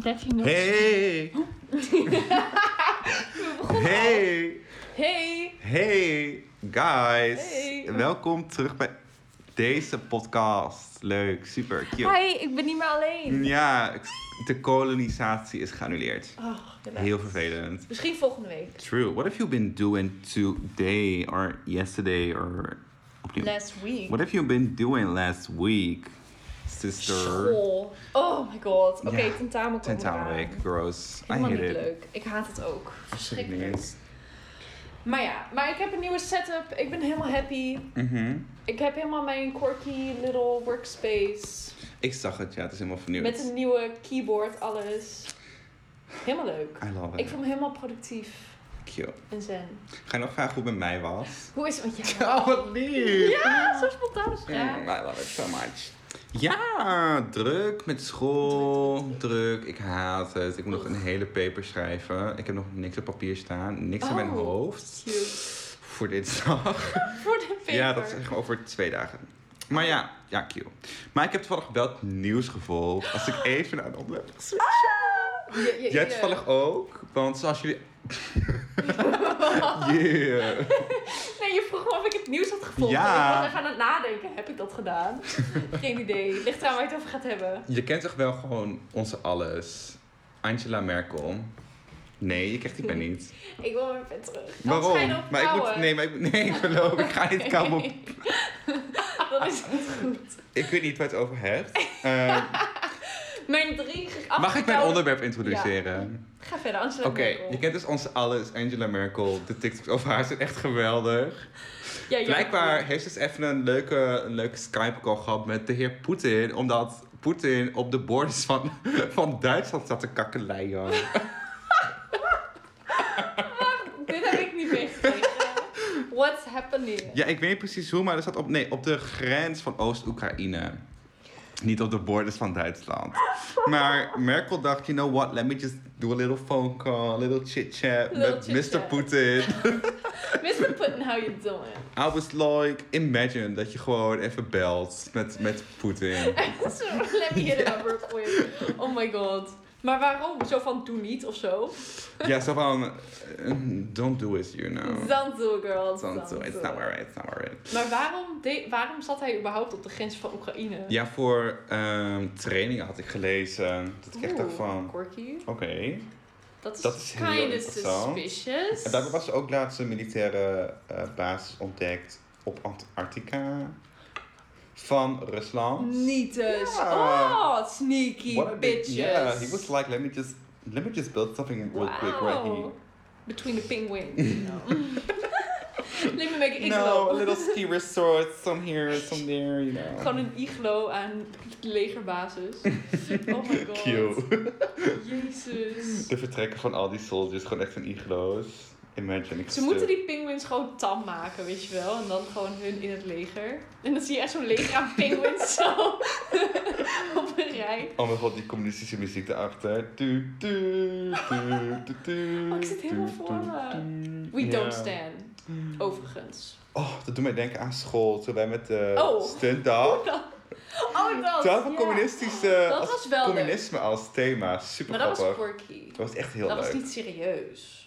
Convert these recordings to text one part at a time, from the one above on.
Tref je nog? Hey! Hey! Hey! Hey! Guys! Hey. Welkom terug bij deze podcast. Leuk, super, cute. Hi, ik ben niet meer alleen. Ja, de kolonisatie is geannuleerd. Oh, inderdaad. Heel vervelend. Misschien volgende week. True. What have you been doing today or yesterday or opnieuw? Last week. What have you been doing last week, sister? School. Oh my god. Oké, Ja, tentamen komt Tentamenweek, eraan. gross. I Helemaal hate niet it. leuk. Ik haat het ook. Ik Verschrikkelijk. niet. Maar ja, maar ik heb een nieuwe setup. Ik ben helemaal happy. Mhm. Ik heb helemaal mijn quirky little workspace. Ik zag het, ja, het is helemaal vernieuwd. Met een nieuwe keyboard, alles. Helemaal leuk. I love it. Ik voel me helemaal productief Cute. en zen. Ga je nog vragen hoe het bij mij was? Hoe is het met jou? Oh, wat lief! Ja, zo spontaan is Mm, I love it so much. Ja, druk met school. Druk, ik haat het. Ik moet nog een hele paper schrijven. Ik heb nog niks op papier staan. Niks in mijn Oh. hoofd. Cute. Voor dit dag. Voor de paper. Ja, dat is echt over twee dagen. Maar ja, ja, cute. Maar ik heb toevallig wel het nieuws gevolgd. Als ik even naar de onderwerp switch. Ah! Je- je- Jij je- toevallig ook. Want zoals jullie... Oh. Yeah. Nee, je vroeg me of ik het nieuws had gevonden. Ja. Ik was even aan het nadenken. Heb ik dat gedaan? Geen idee. Ligt eraan waar je het over gaat hebben. Je kent toch wel gewoon onze alles. Angela Merkel. Nee, je krijgt die pen niet. Ik wil mijn pen terug. Ik kan het Waarom? schijnen op Maar ik moet, kouwen. nee, maar ik, nee, ik geloof, ik ga niet komen. op- dat is niet goed. Ik weet niet waar je het over hebt. Eh, Mijn drie ge- mag ik mijn afgekoude- onderwerp introduceren? Ga verder, Angela Oké, nou- Merkel. je kent dus onze alles, Angela Merkel. De TikToks over haar zijn echt geweldig. Ja, ja. Blijkbaar heeft ze eens even een leuke, een leuke Skype-call gehad met de heer Poetin. Omdat Poetin op de borders van, van Duitsland zat te kakkeleien. Dit heb ik niet meegekregen. What's happening? Ja, ik weet niet precies hoe, maar er staat op, nee, op de grens van Oost-Oekraïne. Niet op de borders van Duitsland. Maar Merkel dacht, you know what, let me just do a little phone call, a little chit-chat Little met chit-chat. Mr. Putin. Mr. Putin, how you doing? I was like, imagine dat je gewoon even belt met, met Poetin. Zo, Let me hit it up real quick. Oh my god. Maar waarom? Zo van doe niet of zo? Ja, zo van, eh, don't do it, you know. Dan doe girl. Don't do it, it's not doe. alright, it's not alright. Maar waarom, de- waarom zat hij überhaupt op de grens van Oekraïne? Ja, voor ehm, trainingen had ik gelezen. Dat ik echt dacht Oeh, van, Quirky. oké. Dat is, Dat is heel kind of interessant. suspicious. En daarbij was er ook laatst een militaire eh, basis ontdekt op Antarctica van Rusland. Niet dus. Ja. Oh, sneaky What a big- bitches. Yeah, he was like, let me just, let me just build something real quick right here. Wow. Between the penguins. you know. Let me make an No, iglo. a little ski resort, some here, some there, you Gewoon know. een iglo aan legerbasis. Oh my god. Cute. Jezus. De vertrekken van al die soldiers, gewoon echt een iglo's. Imagine. ik Ze moeten die penguins gewoon tam maken, weet je wel. En dan gewoon hun in het leger. En dan zie je echt zo'n leger aan penguins zo op een rij. Oh mijn god, die communistische muziek daarachter. Du, du, du, du, du, Oh, ik zit helemaal voor me. du. We don't Ja. stand, overigens. Oh, dat doet mij denken aan school. Toen wij met de Oh. stuntdag. Oh, dat. Oh, dat. Toen hadden ja. we communistische... Dat als- was wel leuk. Communisme als thema. Super Maar dat was grappig. quirky. Dat was echt heel Dat was leuk. niet serieus.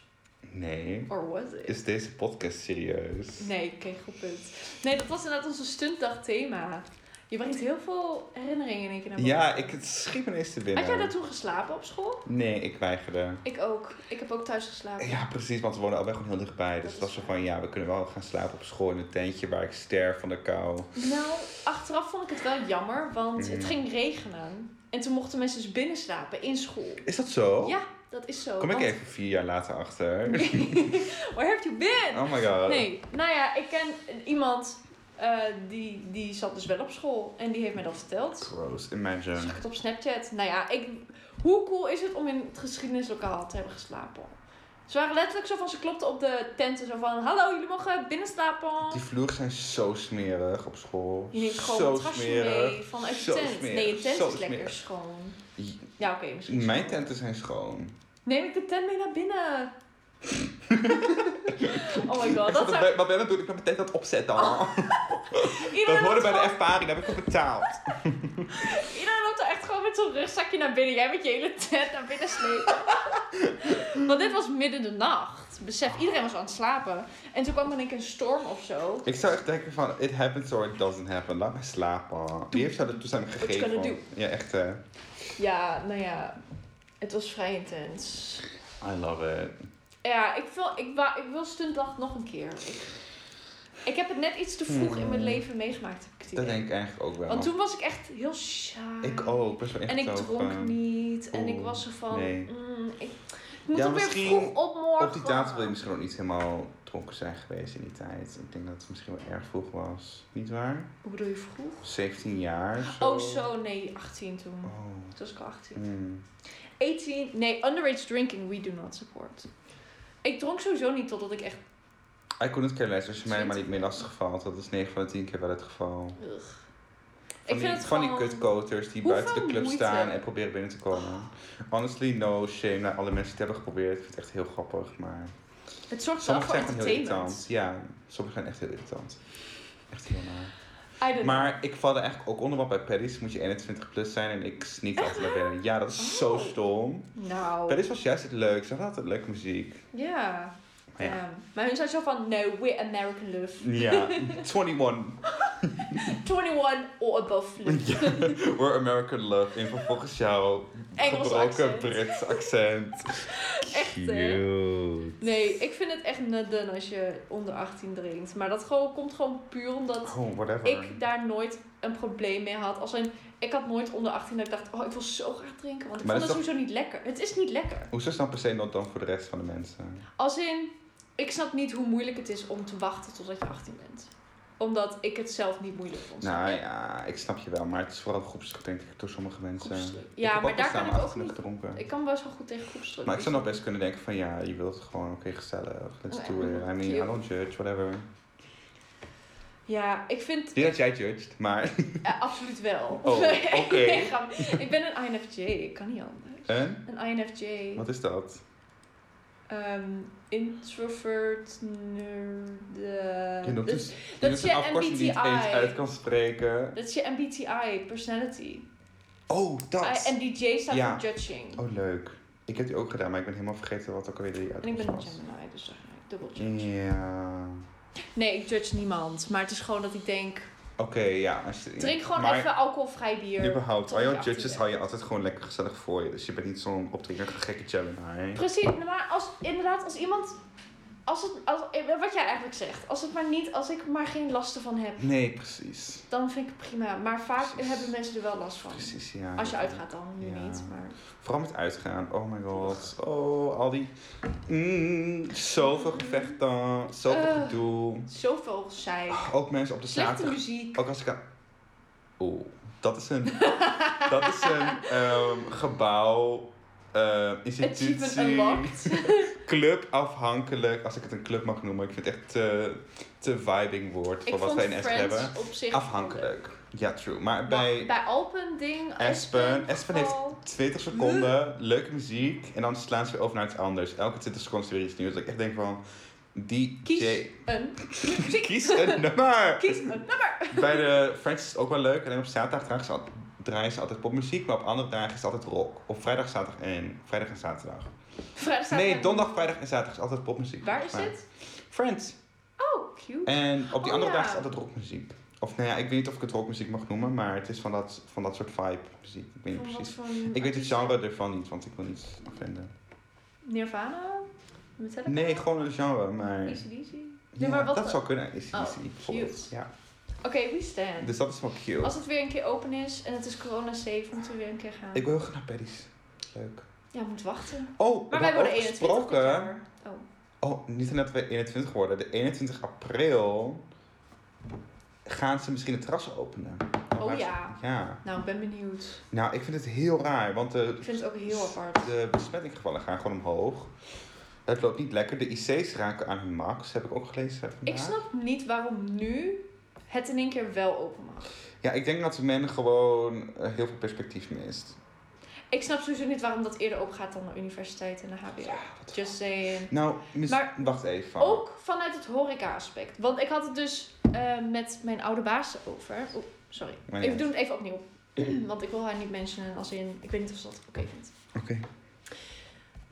Nee. Or was it? Is deze podcast serieus? Nee, ik kreeg goed punt. Nee, dat was inderdaad onze stuntdag thema. Je brengt heel veel herinneringen in één keer naar boven. Ja, ik het schiet me ineens te binnen. Had jij daar toen geslapen op school? Nee, ik weigerde. Ik ook. Ik heb ook thuis geslapen. Ja, precies, want we wonen allebei gewoon heel dichtbij. Dus Dat het is was zo waar. van, ja, we kunnen wel gaan slapen op school in een tentje waar ik sterf van de kou. Nou, achteraf vond ik het wel jammer, want het Mm. ging regenen. En toen mochten mensen dus binnen slapen in school. Is dat zo? Ja, dat is zo. Oh. Kom ik want- even vier jaar later achter? Where have you been? Oh my god. Nee, nou ja, ik ken iemand eh, die, die zat dus wel op school. En die heeft mij dat verteld. Gross, imagine. Zag ik het op Snapchat. Nou ja, ik, hoe cool is het om in het geschiedenislokaal te hebben geslapen? Ze waren letterlijk zo van, ze klopten op de tenten zo van... Hallo, jullie mogen binnen slapen. Die vloeren zijn zo smerig op school. Je neemt gewoon zo een trasje smerig. mee vanuit je Zo tent. smerig. Nee, je tent Zo is lekker smerig. schoon. J- Ja, oké, misschien. Mijn zo. tenten zijn schoon. Neem ik de tent mee naar binnen? oh my god, Ik zat dat het zou... Oh, bij- Wat ben ik doen? Ik ben mijn tent aan het opzetten. Iedereen Dat hoorde loopt bij de gewoon- ervaring, daar heb ik op betaald. Iedereen loopt er echt gewoon met met zo'n rugzakje naar binnen. Jij met je hele tent naar binnen slepen. Want dit was midden de nacht. Besef, iedereen was aan het slapen. En toen kwam er in één keer een storm of zo. Ik zou echt denken van, it happens or it doesn't happen. Laat mij slapen. Wie heeft jou de toestemming What you gegeven? gonna do? Ja, echt hè. Ja, nou ja. Het was vrij intens. I love it. Ja, ik wil, ik, wa- ik wil stuntdag nog een keer. Ik, ik heb het net iets te vroeg in mijn Hmm. leven meegemaakt. Heb ik het Dat idee. denk ik eigenlijk ook wel. Want toen was ik echt heel saai. Ik ook, best wel echt En ik zo dronk van- niet. En ik oeh, was zo van... nee. mm, ik, ik moet Ja, ook weer misschien vroeg op morgen. Op die datum wil je misschien ook niet helemaal dronken zijn geweest in die tijd. Ik denk dat het misschien wel erg vroeg was. Niet waar? Hoe bedoel je vroeg? 17 jaar. Oh, zo. Nee, 18 toen. Oh. Toen was ik al 18. Mm. 18... Nee, underage drinking we do not support. Ik dronk sowieso niet totdat ik echt... I couldn't care less. Als je mij maar niet 20. meer lastig valt, dat is 9 van de 10 keer wel het geval. Van Ugh. die, ik vind het van die gewoon... kutkoters die Hoeveel buiten de club moeite? staan en proberen binnen te komen. Honestly, no shame naar alle mensen die het hebben geprobeerd. Ik vind het echt heel grappig, maar... Het zorgt wel Sommigen voor zijn gewoon heel entertainment. irritant. Ja, sommigen zijn echt heel irritant. Echt heel naar. I don't know. Maar ik val er eigenlijk ook onder, want bij Paddy's moet je 21 plus zijn en ik sneak altijd naar binnen. Ja, dat is zo Oh. stom. Nou... Paddy's was juist het leukste. Ze had altijd leuke muziek. Ja. Maar ja. Damn. Maar hun zijn zo van, no, we're American love. Ja, 21. 21 or above love. Ja, we're American love. En vervolgens jouw Engels gebroken accent. Brits accent. Echt, hè? Cute. Nee, ik vind het echt net dun als je onder 18 drinkt. Maar dat gewoon, komt gewoon puur omdat Oh, whatever. ik daar nooit een probleem mee had. Als in, ik had nooit onder 18 dat ik dacht, oh, ik wil zo graag drinken. Want ik Maar vond het dat is sowieso niet lekker. Het is niet lekker. Hoezo is dan per se not dan voor de rest van de mensen? Als in, ik snap niet hoe moeilijk het is om te wachten totdat je 18 bent. Omdat ik het zelf niet moeilijk vond. Nou ja, ik snap je wel, maar het is vooral groepsdruk denk ik door sommige mensen. Groepsdruk. Ik Ja, heb maar ook daar bestaan, kan ik ook achterlijk niet- gedronken. Ik kan best wel goed tegen groepsdruk. Maar ik zou nog best kunnen denken van ja, je wilt gewoon oké gezellig, let's Oh ja, do it. I mean, I cute. don't judge, whatever. Ja, ik vind Niet dat jij judged, maar Eh, absoluut wel. Oh, Nee, oké. nee, grap. ik ben een INFJ, ik kan niet anders. en? Een INFJ. Wat is dat? ehm, introvert, nerd. eh, Je noemt dus- dus, je dat noemt is een je afkorting die je niet eens MBTI. uit kan spreken. dat is je MBTI, personality. Oh, I- dat! Eh, En die J staat Ja. voor judging. Oh, leuk. Ik heb die ook gedaan, maar ik ben helemaal vergeten wat ook alweer die en ik uitkomst ben een was. Gemini, dus zeg maar, ik dubbel judge. Ja. Nee, ik judge niemand. Maar het is gewoon dat ik denk, Oké, ja. Als je, drink gewoon maar even alcoholvrij bier. Überhaupt, al jouw tot je judges 18 hou je altijd gewoon lekker gezellig voor je. Dus je bent niet zo'n opdrinker gekke Gemini. Precies, nou, maar als, inderdaad, als iemand... Als het, als, eh, wat jij eigenlijk zegt. Als, het maar niet, als ik er maar geen lasten van heb. Nee, precies. dan vind ik het prima. Maar vaak Precies. hebben mensen er wel last van. Precies, ja. Als je uitgaat dan, nu Ja. niet. Maar... Vooral met uitgaan. Oh my god. Oh, al die... Mm, zoveel gevechten. Zoveel Eh. gedoe. Zoveel zij. Ook mensen op Ah, de Slechte zaterdag. muziek. Ook als ik aan... Oeh, dat is een... dat is een ehm, gebouw... eh Achievement institutie, unlocked. club afhankelijk, als ik het een club mag noemen. Ik vind het echt te, te vibing woord voor Ik wat vond wij in Espen Friends hebben. op zich... Afhankelijk. Ja, true. Maar Maar bij Bij, Alpen ding. Espen, Espen heeft vooral. 20 seconden, leuke muziek. En dan slaan ze weer over naar iets anders. Elke 20 seconden is er weer iets nieuws. Dat ik echt denk van... DJ... Kies een... Kies een nummer! Kies een nummer. Bij de Friends is het ook wel leuk. Alleen op zaterdag dragen ze, al- draaien ze altijd popmuziek. Maar op andere dagen is het altijd rock. Op vrijdag, zaterdag en... Vrijdag en zaterdag. Vrijdag staat Nee, er- donderdag, vrijdag en zaterdag is altijd popmuziek. Waar is Maar- dit? Friends. Oh, cute. En op die Oh, andere ja. dagen is het altijd rockmuziek. Of nou ja, ik weet niet of ik het rockmuziek mag noemen. Maar het is van dat, van dat soort vibe muziek. Ik weet niet Van wat precies. voor Ik weet het artiesten? genre ervan niet, want ik wil niet offenden. Nirvana? Metallica? Nee, gewoon een genre, maar... Easy Deasy? Ja, maar wat- dat zou kunnen, is Oh, easy. bijvoorbeeld. Ja. Oké, we stand. Dus dat is wel cute. Als het weer een keer open is en het is corona safe, moeten we weer een keer gaan. Ik wil heel graag naar Paddy's. Leuk. Ja, moet wachten. Oh, Maar we wij hebben worden ook 21 dit gesproken. jaar. Oh. Oh, niet net dat we 21 worden. De 21 april gaan ze misschien het terras openen. Oh, Waar ze- ja. Ja. Nou, ik ben benieuwd. Nou, ik vind het heel raar, want de, Ik vind het ook heel Dus- apart. de besmettingsgevallen gaan gewoon omhoog. Het loopt niet lekker. De IC's raken aan hun max, heb ik ook gelezen vandaag. Ik snap niet waarom nu het in één keer wel open mag. Ja, ik denk dat men gewoon eh, heel veel perspectief mist. Ik snap sowieso niet waarom dat eerder opgaat dan de universiteit en de HBR. Wat- Just saying. Nou, mis- Maar- wacht even. Ook vanuit het horeca-aspect. Want ik had het dus eh, met mijn oude baas over. Oeh, sorry. Maar ja. Even doen het even opnieuw. Want ik wil haar niet mentionen als in... Ik weet niet of ze dat oké vindt. Oké.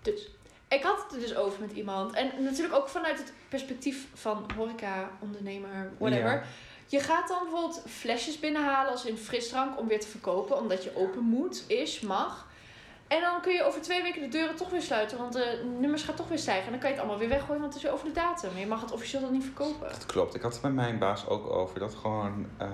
Dus, ik had het er dus over met iemand. En natuurlijk ook vanuit het perspectief van horeca, ondernemer, whatever. Ja. Je gaat dan bijvoorbeeld flesjes binnenhalen als in frisdrank om weer te verkopen. Omdat je open moet, is, mag. En dan kun je over twee weken de deuren toch weer sluiten. Want de nummers gaan toch weer stijgen. En dan kan je het allemaal weer weggooien, want het is weer over de datum. Je mag het officieel dan niet verkopen. Dat klopt. Ik had het met mijn baas ook over. Dat gewoon. ehm,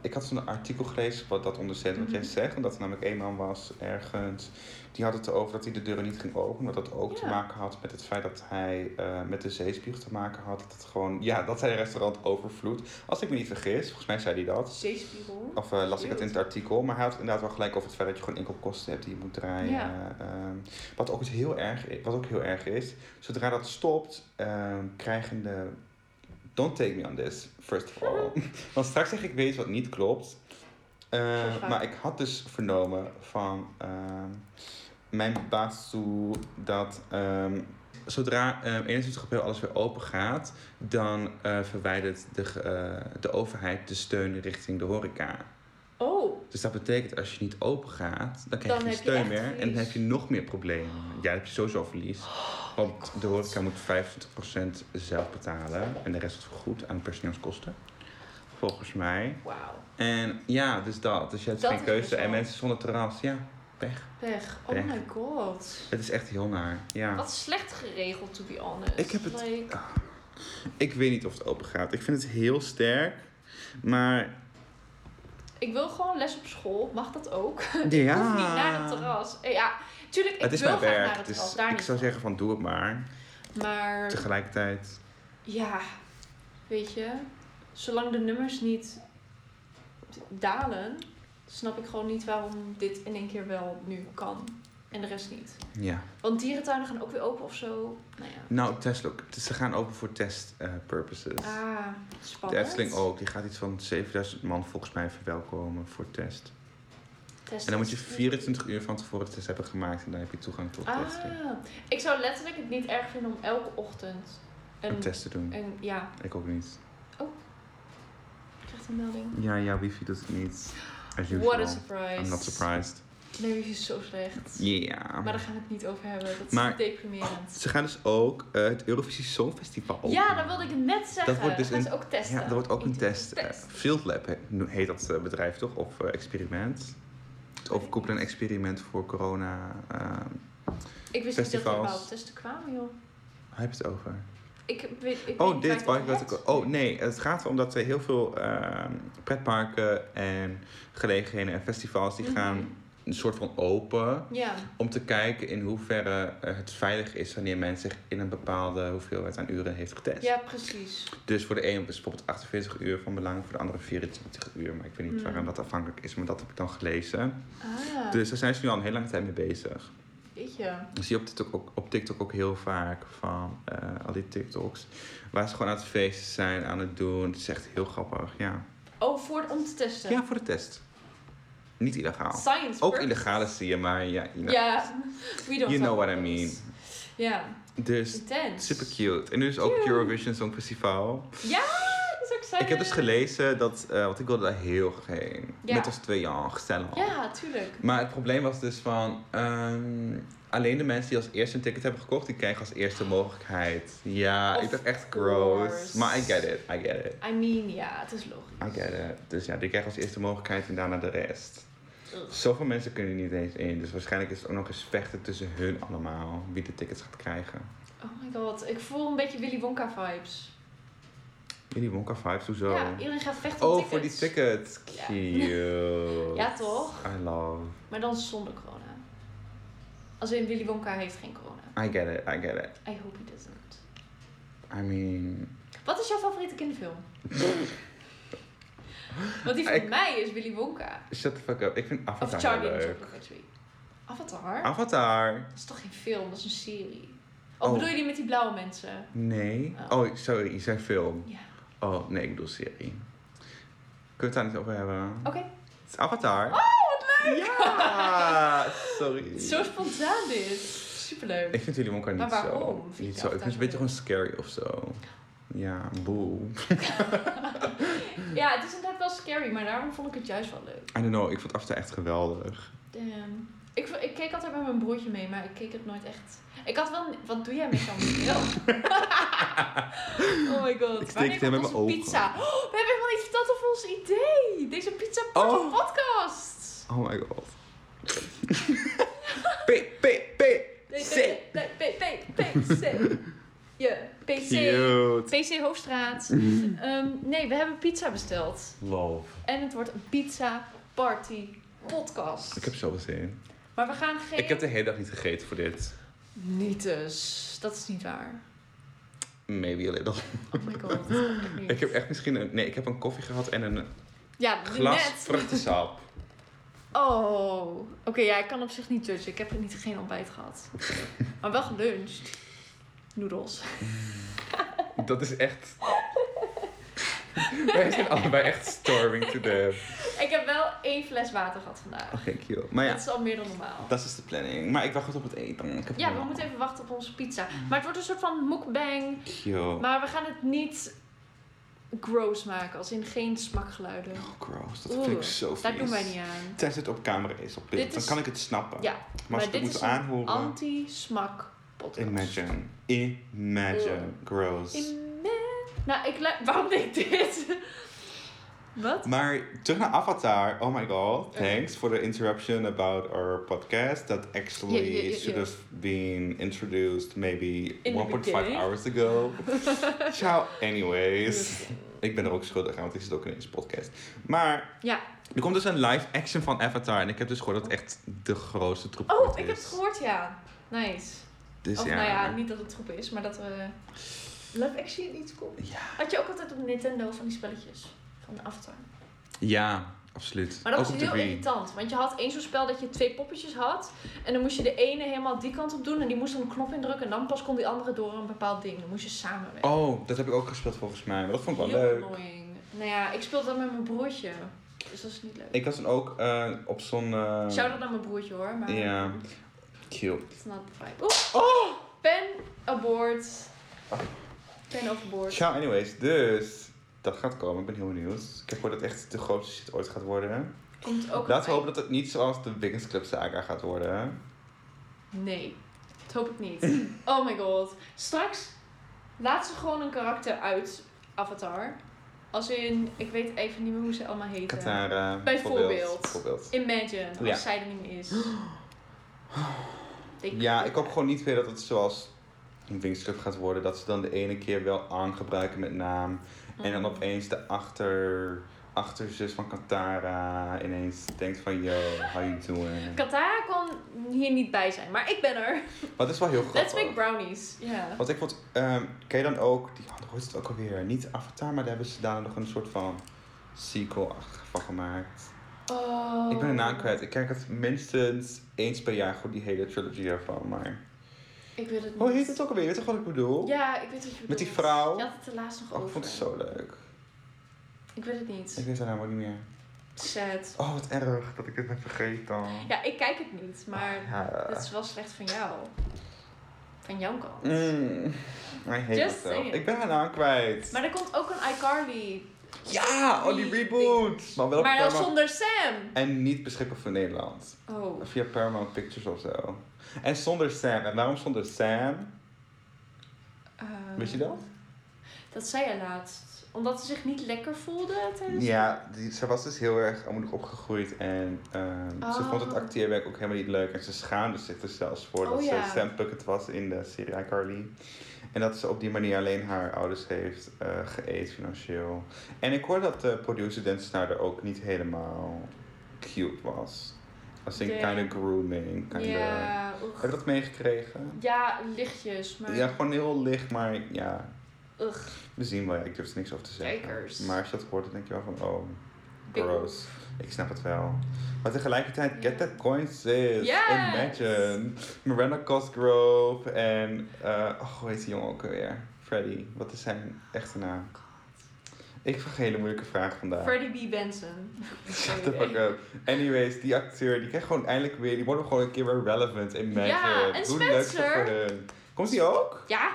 ik had zo'n artikel gelezen wat dat onderzet wat jij Mhm. zegt. Omdat er namelijk een man was ergens. Die had het erover dat hij de deuren niet ging openen. Maar dat ook te Ja. maken had met het feit dat hij eh, met de zeespiegel te maken had. Dat het gewoon. Ja, dat zijn restaurant overvloed. Als ik me niet vergis, volgens mij zei hij dat. Zeespiegel. Of eh, las ik dat in het Wild. artikel. Maar hij had inderdaad wel gelijk over het feit dat je gewoon inkoopkosten hebt die je moet draaien. Ja. Ehm, wat, ook iets heel erg, i- wat ook heel erg is. Zodra dat stopt, ehm, krijgen de... Don't take me on this, first of all. Want straks zeg ik weet wat niet klopt. Eh, Zo vaak. maar ik had dus vernomen van ehm, mijn baas toe dat... ehm, Zodra ehm 21 april alles weer open gaat, dan eh, verwijdert de, ge- eh, de overheid de steun richting de horeca. Oh, Dus dat betekent als je niet open gaat, dan krijg Dan je heb geen je steun echt meer en dan verlies. Oh heb je nog meer problemen. Ja, dan heb je sowieso verlies. Want de horeca moet 25% zelf betalen en de rest is vergoed aan personeelskosten. Volgens mij. wauw. En ja, dus dat. Dus je hebt Dat geen is keuze. best wel- En mensen zonder terras, ja, pech. Pech. Oh Pech. my god. Het is echt heel naar. Ja. Wat slecht geregeld, to be honest. Ik heb het- Like, Ik weet niet of het open gaat. Ik vind het heel sterk. Maar ik wil gewoon les op school. Mag dat ook? ja. Ik hoef niet naar het terras. Eh, Ja, tuurlijk, ik Het is wil mijn graag naar werk. het Dus terras. Daar ik niet zou van. zeggen van doe het maar. Maar Tegelijkertijd. ja, weet je, zolang de nummers niet dalen, snap ik gewoon niet waarom dit in één keer wel nu kan en de rest niet. Ja. Want dierentuinen gaan ook weer open of zo. Nou ja. Nou, Tesla, ook. ze gaan open voor test eh, purposes. Ah, de spannend. Efteling ook, die gaat iets van 7000 man volgens mij verwelkomen voor test. Test, En dan moet je test. 24 uur van tevoren de test hebben gemaakt en dan heb je toegang tot Ah, testen. ik zou letterlijk het niet erg vinden om elke ochtend Om een, test te doen. een ja, Ik ook niet. ik krijg een melding. Ja, ja, wifi doet het niet. As usual. What a surprise. I'm not surprised. Nee, wifi is zo slecht. Yeah. Maar daar gaan we het niet over hebben. Dat is Maar- deprimerend. Ze gaan dus ook eh, het Eurovisie Songfestival openen. Ja, dat wilde ik net zeggen. Dat wordt dus gaan een- ze ook testen. Ja, dat wordt ook een test. eh, test. Field Lab he- heet dat eh, bedrijf toch? Of eh, experiment. Het overkoepelend experiment voor corona. eh, Ik wist niet dat festivals. er überhaupt testen kwamen, joh. Waar heb je het over? Ik weet, ik Oh, weet niet dit. waar Oh, ik het ik dacht over ook- had. oh, nee. Het gaat erom dat er heel veel ehm, pretparken en gelegenheden en festivals... die Mhm. gaan een soort van open... Ja, om te kijken in hoeverre eh, het veilig is... wanneer men zich in een bepaalde hoeveelheid aan uren heeft getest. ja, precies. Dus voor de een is bijvoorbeeld 48 uur van belang... voor de andere 24 uur. Maar ik weet niet Mm. waarom dat afhankelijk is, maar dat heb ik dan gelezen. Ah, Dus daar zijn ze nu al een hele lange tijd mee bezig. weet je. Ik zie op TikTok ook, op TikTok ook heel vaak van eh, al die TikToks. Waar ze gewoon aan het feesten zijn, aan het doen. Het is echt heel grappig, ja. Oh, voor, om te testen. Ja, voor de test. Niet illegaal. Science. Ook purpose. illegale zie je, maar ja. you know. Ja, we don't You talk know what I about mean. this. Ja, Dus intens. super cute. En nu is ook het Cute. Eurovision Songfestival. Ja, dat is ook zijn. Ik heb dus gelezen dat, eh want ik wilde daar heel graag heen. Ja. Met ons twee jaar, gezellig. Ja, tuurlijk. Maar het probleem was dus van... ehm, alleen de mensen die als eerste een ticket hebben gekocht... die krijgen als eerste mogelijkheid. Ja, ik Of dacht echt gross. course. Maar I get it, I get it. I mean, ja, het is logisch. I get it. Dus ja, die krijgen als eerste mogelijkheid en daarna de rest. Ugh. Zoveel mensen kunnen er niet eens in. Dus waarschijnlijk is het ook nog eens vechten tussen hun allemaal. Wie de tickets gaat krijgen. Oh my god, ik voel een beetje Willy Wonka vibes. Jullie Wonka vibes, hoezo? Ja, iedereen gaat vechten om oh, tickets. voor die tickets. Ja. Cute. Ja, toch? I love. Maar dan zonder corona. Als in Willy Wonka heeft geen corona. I get it, I get it. I hope he doesn't. I mean... Wat is jouw favoriete kinderfilm? Want die van Ik- mij is Willy Wonka. Shut the fuck up. Ik vind Of Avatar Charlie heel and the leuk. Ah. Chocolate Factory. Avatar? Avatar. Dat is toch geen film, dat is een serie. Of Oh. bedoel je die met die blauwe mensen? Nee. Oh. Oh, sorry, je zei film. Ja. Oh, nee, ik bedoel serie. Kunnen we het daar niet over hebben? Oké. Het is Avatar. Oh, wat leuk! Ja! Sorry. Zo spontaan dit. Superleuk. Ik vind jullie Wonka niet Maar waarom zo. vind je Niet zo. Ik Avatar vind het een beetje leuk? gewoon scary of zo. Ja, boe. Ja, het is inderdaad wel scary, maar daarom vond ik het juist wel leuk. I don't know, ik vond After echt geweldig. Damn. Ik, vo- ik keek altijd met mijn broertje mee, maar ik keek het nooit echt. Ik had wel. Wat doe jij met jouw bril? oh my god. Ik Wanneer steek het in komt met onze mijn ogen. Pizza. Oh, we hebben helemaal niet verteld over ons idee. Deze pizza Oh. podcast. Oh my god. P, P, P. C. Nee, nee, nee, nee, PC. Ja, PC. Cute. PC Hoofdstraat. Ehm, nee, we hebben pizza besteld. Love. En het wordt een pizza party podcast. Ik heb zoveel zin. Maar we gaan geen... Ik heb de hele dag niet gegeten voor dit. Niet dus. Dat is niet waar. Maybe a little. Oh my god. echt niet. Ik heb echt misschien een... Nee, ik heb een koffie gehad en een Ja, glas net. vruchtensap. Oh. Oké, ja, ik kan op zich niet judgen. Ik heb niet, geen ontbijt gehad. maar wel geluncht. Noedels. Dat is echt... Wij zijn allebei echt storming to death. Ik heb wel één fles water gehad vandaag. Oké, cute. Oh, Maar ja, Dat is al meer dan normaal. dat is dus de planning. Maar ik wacht goed op het eten. Ik heb Ja, we honger. moeten even wachten op onze pizza. Mm. Maar het wordt een soort van mukbang. Cute. Maar we gaan het niet gross maken. Als in geen smakgeluiden. Oh, gross. Dat Oeh, vind ik zo vies. Daar doen wij niet aan. Tenzij het op camera is, op Dit beeld. is- Dan kan ik het snappen. Ja, maar als maar ik dit het moet is een aanhoren... Anti-smak podcast. Imagine. Imagine. Gross. Imagine. Nou, ik lu- Waarom deed ik dit? Wat? Maar terug naar Avatar. Oh my god. Eh. Thanks for the interruption about our podcast that actually Yeah, yeah, yeah, should yeah. have been introduced maybe In the 1.5 beginning. hours ago. Ciao, anyways. Ik ben er ook schuldig aan, want ik zit ook in deze podcast. Maar Ja. er komt dus een live action van Avatar. En ik heb dus gehoord dat het echt de grootste troep ooit Oh, ik heb is. het gehoord, ja. Nice. Dus of ja. nou ja, niet dat het troep is, maar dat we... Love Actually niet komt. Ja. Had je ook altijd op Nintendo van die spelletjes? Van de Avatar. Ja, absoluut. Maar dat ook was op de heel Wii. irritant. Want je had één zo'n spel dat je twee poppetjes had. En dan moest je de ene helemaal die kant op doen. En die moest een knop indrukken. En dan pas kon die andere door een bepaald ding. Dan moest je samenwerken. Oh, dat heb ik ook gespeeld volgens mij. Maar dat Oh, vond ik wel Heel leuk. annoying. Nou ja, ik speelde dat met mijn broertje. Dus dat is niet leuk. Ik was dan ook eh, op zo'n... eh, Shout-out naar mijn broertje hoor. Maar Ja. Oh! Cute. It's not the vibe. Oeh! Pen aboard. Ah. Pen overboord. Ciao, anyways. Dus, dat gaat komen. Ik ben heel benieuwd. Ik heb gehoord dat het echt de grootste shit ooit gaat worden. Komt ook Laten we op- hopen dat het niet zoals de Wiggins Club saga gaat worden. Nee, dat hoop ik niet. oh my god. Straks laat ze gewoon een karakter uit Avatar. Als in, ik weet even niet meer hoe ze allemaal heten. Katara. Bijvoorbeeld. Bijvoorbeeld. Imagine, als Ja. zij er niet meer is. They Ja, could- ik hoop gewoon niet meer dat het zoals een Wiggins Club gaat worden. Dat ze dan de ene keer wel aan gebruiken met naam. En Mm. dan opeens de achter, achterzus van Katara ineens denkt van... Yo, how you doing? Katara kon hier niet bij zijn, maar ik ben er. Wat is wel heel Let's grappig. make brownies. Ja. Want ik vond, ehm ken je dan ook, die, oh, hoe is het ook alweer, niet Avatar, maar daar hebben ze daarna nog een soort van sequel van gemaakt. Oh. Ik ben de naam kwijt. Ik kijk het minstens eens per jaar goed, die hele trilogy ervan. Maar... Ik weet het niet. Hoe Oh, heet het ook alweer? Weet je toch wat ik bedoel? Ja, ik weet wat je bedoelt. Met die vrouw. Je had het er laatst nog Oh, over. ik vond het zo leuk. Ik weet het niet. Ik weet haar naam ook niet meer. Sad. Oh, wat erg dat ik dit ben vergeten. Ja, ik kijk het niet, maar Ah, ja. dat is wel slecht van jou. Van jouw kant. Mm, I hate Just myself. saying. Ik ben haar naam kwijt. Maar er komt ook een iCarly. Ja, oh die reboot. Maar wel op maar dan Paramount- zonder Sam. En niet beschikbaar voor Nederland. Oh. Via Paramount Pictures of zo. En zonder Sam. En waarom zonder Sam? eh, Weet je dat? Dat zei je laatst. Omdat ze zich niet lekker voelde tijdens... Ja, die, ze was dus heel erg armoedig opgegroeid. En ehm, ze vond het Oh. acteerwerk ook helemaal niet leuk. En ze schaamde zich er zelfs voor Oh, dat ja. ze Sam Puckett was in de serie iCarly. En dat ze op die manier alleen haar ouders heeft eh geëet financieel. En ik hoor dat de producer Dan Snyder ook niet helemaal cute was. Als in Damn. kind of grooming. Kinda. Ja, Heb je ugh. dat meegekregen? ja, lichtjes, maar Ja, gewoon heel licht, maar ja. Ugh. We zien wel, ja, ik durf er niks over te zeggen. Kijkers. Maar als je dat hoort, dan denk je wel van, oh, Ik- gross. Ik snap het wel. Maar tegelijkertijd, Ja. get that coin, sis. Yes! Imagine. Miranda Cosgrove en, eh oh, hoe heet die jongen ook alweer? Freddy. Wat is zijn echte naam? Oh Ik vraag hele moeilijke vragen vandaag. Freddie B. Benson. Shut the fuck up. Anyways, die acteur, die krijgt gewoon eindelijk weer, die worden gewoon een keer weer relevant. Imagine. Ja, en Hoe leuk is dat Spencer. voor hun? Komt die ook? Ja,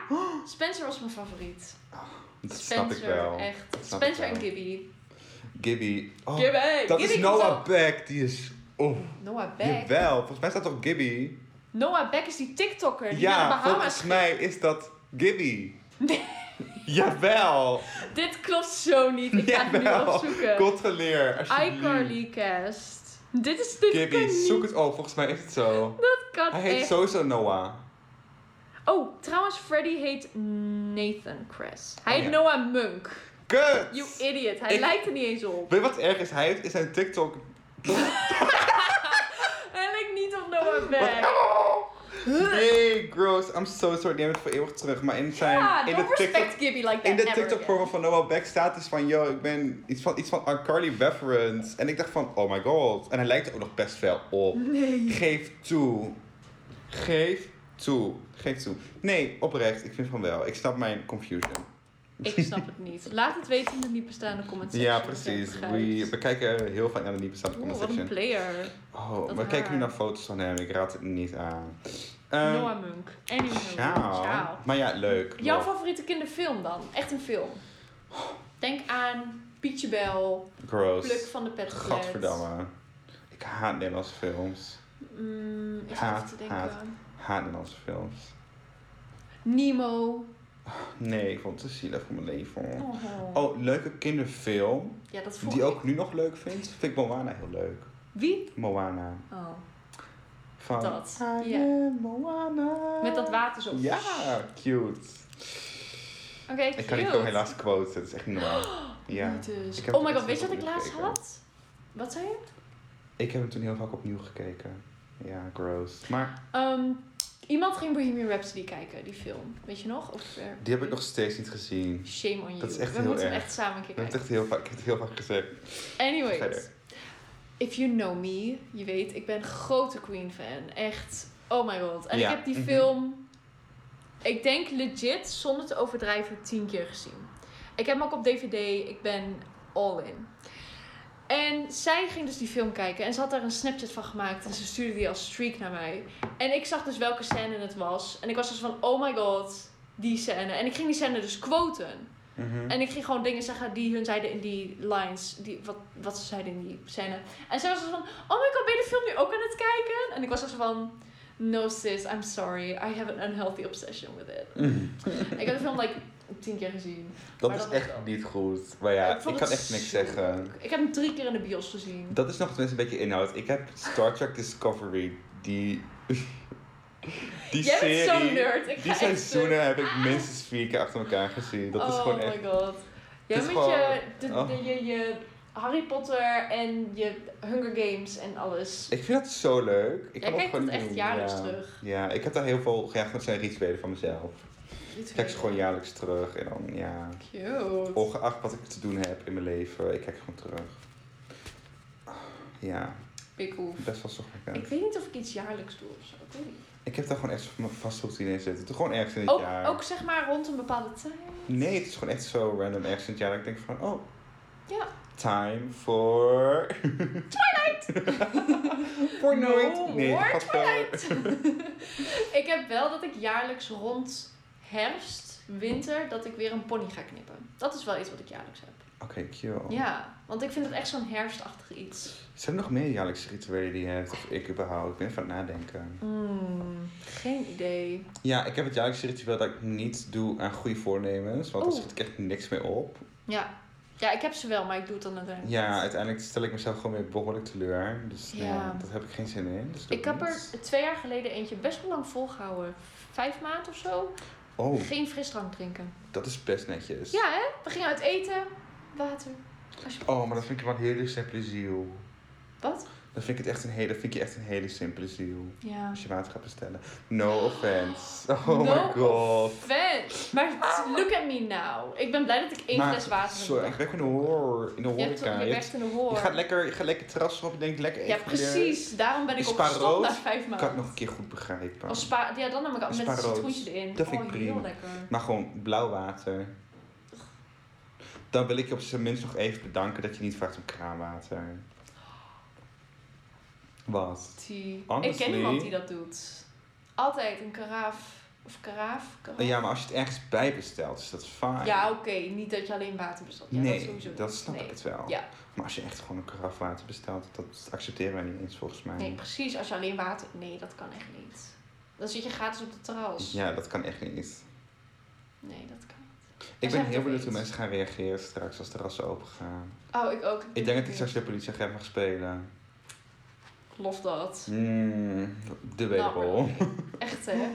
Spencer was mijn favoriet. Oh. Dat snap Spencer, ik wel. echt. snap Spencer ik en wel. Gibby. Gibby. Oh, Gibby! dat Gibby is komt Noah ook- Beck. Die is... Oh, Noah Beck. jawel. Volgens mij staat toch Gibby? Noah Beck is die TikToker die naar Ja, de Bahama's volgens mij is dat Gibby. Jawel. ging. Dit klopt zo niet. Ik ga het nu Jawel. opzoeken. Controleer. Eh. alsjeblieft. iCarly cast. Dit is dit kan Gibby, niet. zoek het op. Volgens mij is het zo. Dat kan Hij heet echt. sowieso Noah. Oh, trouwens, Freddy heet Nathan Cress. Hij Oh, heet ja. Noah Munk. Kut! You idiot. Hij Ik- lijkt er niet eens op. Weet je wat erg is? Hij heeft in zijn TikTok... Hij lijkt niet op Noah Wat? Beck. Oh! Nee, gross. I'm so sorry. Neem het voor eeuwig terug. Maar in zijn... Ja, in Ah, don't de respect TikTok... Gibby like that. In de never TikTok again. promo van Noah Beck staat dus van, yo, ik ben iets van, iets van iCarly reference. En ik dacht van, oh my god. En hij lijkt er ook nog best wel op. Nee. Geef toe. Geef toe. Geef toe. Nee, oprecht. Ik vind van wel. Ik snap mijn confusion. Ik snap het niet. Laat het weten in de niet bestaande comments. Ja, precies. We, we Oeh, kijken heel vaak naar de nieuwe staat comment wat een section. player. Oh, Dat we kijken haar. nu naar foto's van hem. Ik raad het niet aan. Ehm, Noah Munk. Anyway. ciao. Ciao. Maar ja, leuk. Jouw Love. favoriete kinderfilm dan? Echt een film. Denk aan Pietje Bel, Pluk Gross. van de Pet Gadverdamme. Ik haat Nederlandse films. Mm, ik zit Haat, even te denken. haat. Haat Nederlandse films. Nemo. Nee, ik vond het te zielig voor mijn leven. Oh. Oh, leuke kinderfilm. Ja, dat vond Die ik. ook nu nog leuk vindt. Vind ik Moana heel leuk. Wie? Moana. Oh. Van Dat, I ja. am Moana. Met dat water zo. Ja, cute. Oké, Ik kan die film helaas quoten, dat is echt niet normaal. Ja. Ik heb Oh my het god, eerst weet je nog wat ik laatst gekeken. had? Wat zei je? Ik heb hem toen heel vaak opnieuw gekeken. Ja, gross. Maar Ehm, iemand ging Bohemian Rhapsody kijken, die film. Weet je nog? Of, eh, die heb ik nog steeds niet gezien. Shame on you. Dat is echt We heel moeten hem erg. echt samen een keer Ik heb het kijken. echt heel vaak, ik heb het heel vaak gezegd. Anyways. Verder. If you know me, je weet, ik ben grote Queen fan. Echt, oh my god. En Ja, ik heb die mhm. film, ik denk legit, zonder te overdrijven, tien keer gezien. Ik heb hem ook op DVD, ik ben all in. En zij ging dus die film kijken en ze had daar een Snapchat van gemaakt en ze stuurde die als streak naar mij. En ik zag dus welke scène het was. En ik was dus van, oh my god, die scène. En ik ging die scène dus quoten. Mhm. En ik ging gewoon dingen zeggen die hun zeiden in die lines. Die, wat, wat ze zeiden in die scène. En zij was zo van, oh my god, ben je de film nu ook aan het kijken? En ik was zo van, no sis, I'm sorry. I have an unhealthy obsession with it. ik heb de film like tien keer gezien. Dat Maar is dat was echt wel- niet goed. Maar ja, Ik ik, vond kan het echt niks zo zeggen. Ik heb hem drie keer in de bios gezien. Dat is nog tenminste een beetje inhoud. Ik heb Star Trek Discovery, die... die Jij serie... bent zo'n nerd. Ik Die ga echt seizoenen heb ik minstens vier keer achter elkaar gezien. Dat is oh gewoon my echt... god. Jij Het met is je, de, gewoon- Oh. de- je, je Harry Potter en je Hunger Games en alles. Ik vind dat zo leuk. Jij Ik kan kijkt gewoon dat niet echt doen. jaarlijks ja. terug. Ja, ik heb daar heel veel... Ja, dat zijn rituelen van mezelf. Ik kijk ze gewoon jaarlijks terug. En dan, ja... Cute. Ongeacht wat ik te doen heb in mijn leven, ik kijk gewoon terug. Ja, Pikkel. best wel zorgwekkend. Ik Ik, weet niet of ik iets jaarlijks doe of zo. Ik weet niet. ik heb daar gewoon echt mijn vaste routine in zitten. Doe Gewoon ergens in het Ook, jaar. ook zeg maar rond een bepaalde tijd. Nee, het is gewoon echt zo random ergens in het jaar. Dat ik denk van, oh... Ja. Time for... Twilight! voor No nooit. nee, more gaat wel- ik heb wel dat ik jaarlijks rond herfst, winter, dat ik weer een pony ga knippen. Dat is wel iets wat ik jaarlijks heb. Oké, cute. Ja, want ik vind het echt zo'n herfstachtig iets. Zijn er nog meer jaarlijkse rituelen die je hebt? Of ik überhaupt? Ik ben even aan het nadenken. Mm, geen idee. Ja, ik heb het jaarlijkse ritueel dat ik niet doe aan goede voornemens. Want daar Oeh. schiet ik echt niks mee op. Ja. ja, ik heb ze wel, maar ik doe het dan uiteindelijk Ja, niet. uiteindelijk stel ik mezelf gewoon weer behoorlijk teleur. Dus nee, Ja. dat heb ik geen zin in. Dus doe Ik heb niet. er twee jaar geleden eentje best wel lang volgehouden. Vijf maanden of zo. Oh, Geen frisdrank drinken. dat is best netjes. Ja, hè? We gingen uit eten. Water. Alsjeblieft. Oh, maar dat vind ik wel een hele simpele ziel. Wat? Dat vind ik, het echt een hele, dat vind ik je echt een hele simpele ziel. Ja. Als je water gaat bestellen. No offense. Oh No my god. Vet. Maar t- look at me now. Ik ben blij dat ik één Maar, fles water heb. Sorry, ik ben in de hoor. In de Je, hebt, je horeca. Je, werkt in de hoor. je gaat lekker, je gaat lekker het terras op. Je denkt lekker ja, even precies. Daarom ben ik Is ook spa gestopt rood? na vijf weer. Ik kan het maanden. nog een keer goed begrijpen. Als spa, ja, dan heb ik al Is met spa een rood? citroentje erin. Dat vind ik oh, prima. heel lekker. Maar gewoon blauw water. Dan wil ik je op zijn minst nog even bedanken dat je niet vraagt om kraanwater. Wat? Tea. Ik Honestly. ken iemand die dat doet. Altijd een karaaf Of karaaf? karaaf? Ja, maar als je het ergens bij bestelt, is dat fijn. Ja, oké. Niet dat je alleen water bestelt. Ja, dat, nee, sowieso dat, niet. snap nee. ik het wel. Ja. Maar als je echt gewoon een karaf water bestelt, dat accepteren wij niet eens volgens mij. Nee, precies. Als je alleen water... Nee, dat kan echt niet. Dan zit je gratis op de terras. Ja, dat kan echt niet. Nee, dat kan niet. Ik zijn ben we heel het benieuwd hoe eens. mensen gaan reageren straks als terrassen open gaan. Oh, ik ook. Ik denk dat ik straks weer politieagent mag spelen. Lof dat. Mm, debatable. Nou, maar oké. Echt, hè?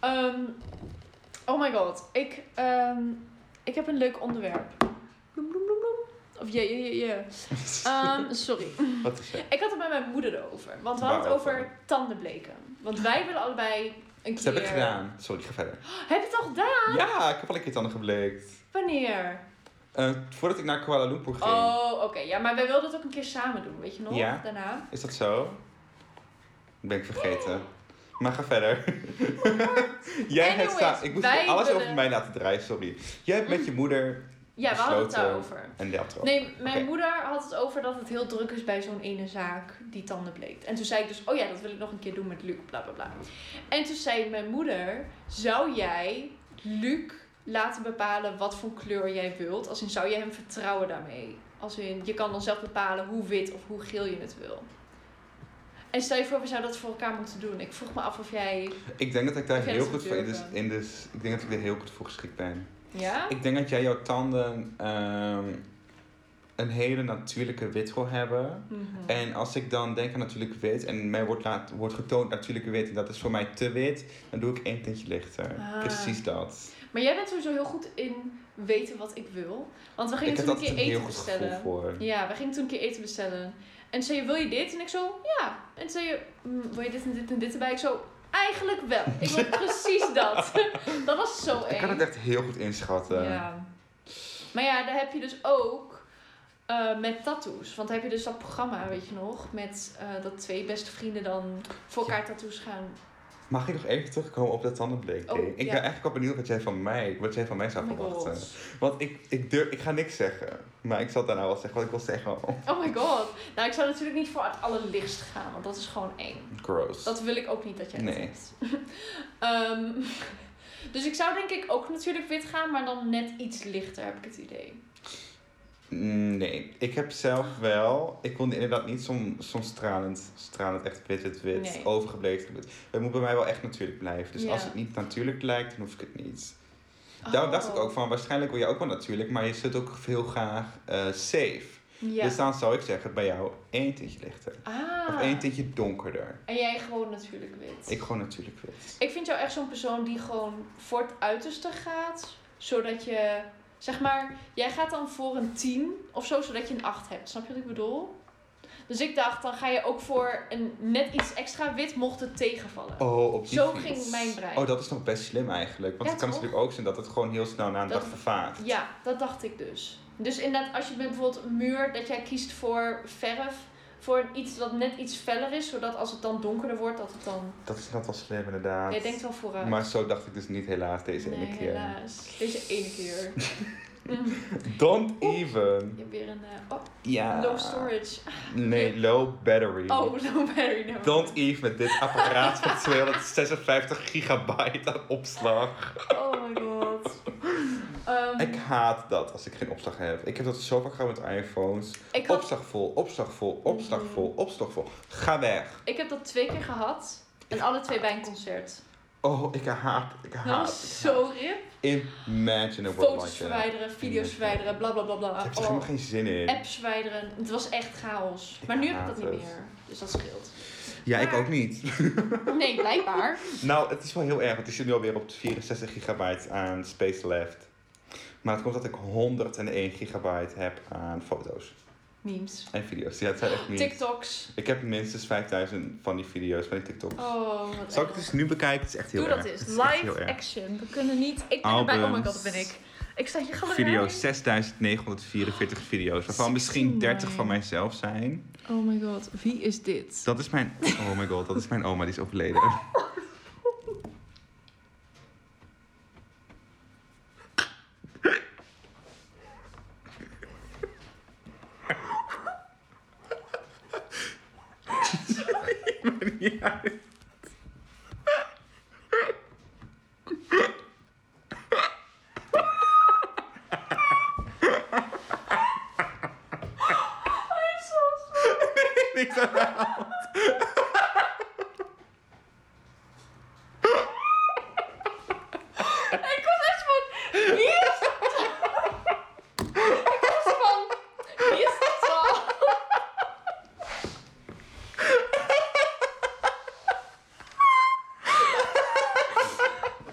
Ehm, oh my god. Ik, ehm, ik heb een leuk onderwerp. Bloem, bloem, bloem, bloem. Of je, je, je. je. Ehm, sorry. Wat is het? Ik had het met mijn moeder erover. Want we hadden het Waarover? over tandenbleken. Want wij willen allebei een Dat keer... heb ik gedaan. Sorry, ga verder. Heb je het al gedaan? Ja, ik heb al een keer tanden gebleekt. Wanneer? Eh, voordat ik naar Kuala Lumpur ging. Oh, oké. Ja, maar wij wilden het ook een keer samen doen. Weet je nog? Ja. Daarna. Is dat zo? Ben ik vergeten. Maar ga verder. Jij hebt Anyways, staan. Ik moest wij alles willen- over mij laten draaien, sorry. Jij hebt met je moeder Ja, we hadden het Besloten. daarover. en dat ook. Nee, mijn Oh, Oké. moeder had het over dat het heel druk is bij zo'n ene zaak die tanden bleekt. En toen zei ik dus, oh ja, dat wil ik nog een keer doen met Luc, bla bla bla. En toen zei mijn moeder, zou jij Luc laten bepalen wat voor kleur jij wilt? Als in, zou jij hem vertrouwen daarmee? Als in, je kan dan zelf bepalen hoe wit of hoe geel je het wil. En stel je voor, we zouden dat voor elkaar moeten doen. Ik vroeg me af of jij... Ik denk dat ik daar Ik dus vind heel het goed voor in de, durven. in de- Ik denk dat ik er heel goed voor geschikt ben. Ja? Ik denk dat jij jouw tanden ehm, een hele natuurlijke wit wil hebben. Mhm. En als ik dan denk aan natuurlijk wit en mij wordt, laat, wordt getoond natuurlijke wit en dat is voor mij te wit, dan doe ik één tintje lichter. Ah. Precies dat. Maar jij bent sowieso heel goed in weten wat ik wil. Want we gingen ik heb toen een altijd keer een eten heel goed bestellen. gevoel voor. Ja, we gingen toen een keer eten bestellen. En zei je, wil je dit? En ik zo, ja. En zei je, "Mm, wil je dit en dit en dit erbij? Ik zo, eigenlijk wel. Ik wil precies dat. dat was zo eng. Ik kan het echt eh, heel goed inschatten. Ja. Maar ja, daar heb je dus ook eh, met tattoos. Want dan heb je dus dat programma, weet je nog? Met eh, dat twee beste vrienden dan voor elkaar tattoos gaan. Mag ik nog even terugkomen op dat tandenbleek? Oh, ik ben ja. eigenlijk wel benieuwd wat jij van mij, wat jij van mij zou Oh my verwachten. god. Want ik, ik, durf, ik ga niks zeggen. Maar ik zal daarna wel zeggen wat ik wil zeggen. Oh, Oh my god. Nou, ik zou natuurlijk niet voor het allerlichtst gaan, want dat is gewoon eng. Gross. Dat wil ik ook niet dat jij dat Nee. hebt. Ehm, dus ik zou denk ik ook natuurlijk wit gaan, maar dan net iets lichter heb ik het idee. Mm, Nee, ik heb zelf wel. Ik kon inderdaad niet zo'n zo'n stralend, stralend, echt wit, wit, wit, Nee. overgebleekt. wit. Het moet bij mij wel echt natuurlijk blijven. Dus Ja. Oh. als het niet natuurlijk lijkt, dan hoef ik het niet. Daarom dacht ik ook van, waarschijnlijk wil je ook wel natuurlijk, maar je zit ook heel graag eh, safe. Ja. Dus dan zou ik zeggen, bij jou één tintje lichter. ah. Of één tintje donkerder. En jij gewoon natuurlijk wit. Ik gewoon natuurlijk wit. Ik vind jou echt zo'n persoon die gewoon voor het uiterste gaat, zodat je, zeg maar, jij gaat dan voor een 10 of zo, zodat je een 8 hebt. Snap je wat ik bedoel? Dus ik dacht, dan ga je ook voor een net iets extra wit mocht het tegenvallen. Oh, op die Zo fiets. ging mijn brein. Oh, dat is nog best slim eigenlijk. Want Ja, het kan toch? natuurlijk ook zijn dat het gewoon heel snel na een Dat- dag vervaagt. Ja, dat dacht ik dus. Dus inderdaad, als je met bijvoorbeeld een muur, dat jij kiest voor verf, voor een iets dat net iets feller is, zodat als het dan donkerder wordt, dat het dan... Dat is inderdaad wel slim inderdaad. Jij denkt wel vooruit. Maar zo dacht ik dus niet helaas deze nee, ene keer. helaas. Deze ene keer. Mm, Don't even. je hebt weer een... eh, oh, Ja. low storage. Nee, low battery. Oh, low battery. never Don't mind. even met dit apparaat van 256 gigabyte aan opslag. Oh my god. Ehm, Ik haat dat als ik geen opslag heb. Ik heb dat zo vaak gehad met iPhones. ik, had- Mhm. Opslag vol, opslag vol, opslag vol, opslag vol. Ga weg. ik heb dat twee keer gehad. En alle twee bij een concert. Oh, ik haat, ik Dat haat. was zo rip. Imagine a world Foto's like that. Ik verwijderen, video's verwijderen, bla bla bla bla. heb er Oh. helemaal geen zin in. apps verwijderen. Het was echt chaos. Ik maar nu heb ik haat dat niet het. meer. Dus dat scheelt. Ja, ik Maar- ook niet. Nee, blijkbaar. Nou, het is wel heel erg. want Het is nu alweer op 64 gigabyte aan space left. Maar het komt dat ik 101 gigabyte heb aan foto's Memes. en video's. Ja, het zijn echt niet. TikToks. Ik heb minstens 5000 van die video's, van die TikTok. Oh, wat Zal ik erg. het eens nu bekijken? Het is echt heel Doe erg. dat eens. Het is echt heel Live erg. action. We kunnen niet. Ik ben erbij. Oh my god, Albums. dat ben ik. Ik sta hier galerij. Video's, 6944 video's, waarvan misschien 30 van mijzelf zijn. Oh my god, wie is dit? Dat is mijn. Oh my god, dat is mijn oma, die is overleden. niks aan de hand. Ik was echt van, wie is Ik was van, wie is dit al?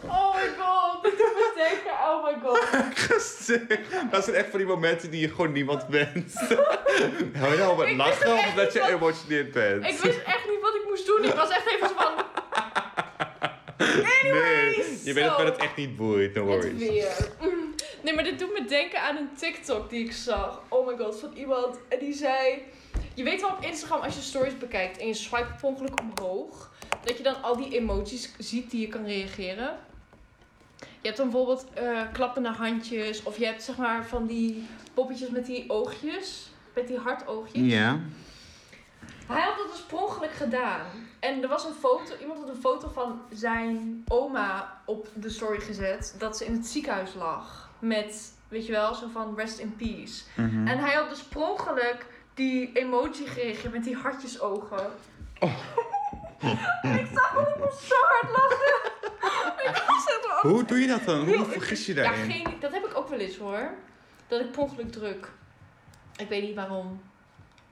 Oh my god, dit doet me denken, oh my god. Gezicht. Dat zijn echt van die momenten die je gewoon niemand wenst. Hou je al met Ik wist het lachen of echt dat niet je wat- emotioneerd bent? Ik wist echt niet wat ik moest doen, ik was echt even zo van... Nee, je weet dat zo. mij dat echt niet boeit, no Het worries. weer. Mm. Nee, maar dit doet me denken aan een TikTok die ik zag. Oh my god, van iemand. En die zei... Je weet wel op Instagram als je stories bekijkt en je swipe per ongeluk omhoog. Dat je dan al die emoties ziet die je kan reageren. Je hebt dan bijvoorbeeld eh, klappende handjes. Of je hebt zeg maar van die poppetjes met die oogjes. Met die hartoogjes. Ja. Hij had dat dus per ongeluk gedaan. En er was een foto, iemand had een foto van zijn oma op de story gezet. Dat ze in het ziekenhuis lag. Met, weet je wel, zo van rest in peace. Mhm. En hij had dus per ongeluk die emotie gereageerd met die hartjesogen. en ik zag dat ik moest zo hard lachen. ik was echt wel- Hoe doe je dat dan? Hoe Heel- vergis je Ja, daarin? geen, dat heb ik ook wel eens hoor. Dat ik per ongeluk druk. Ik weet niet waarom.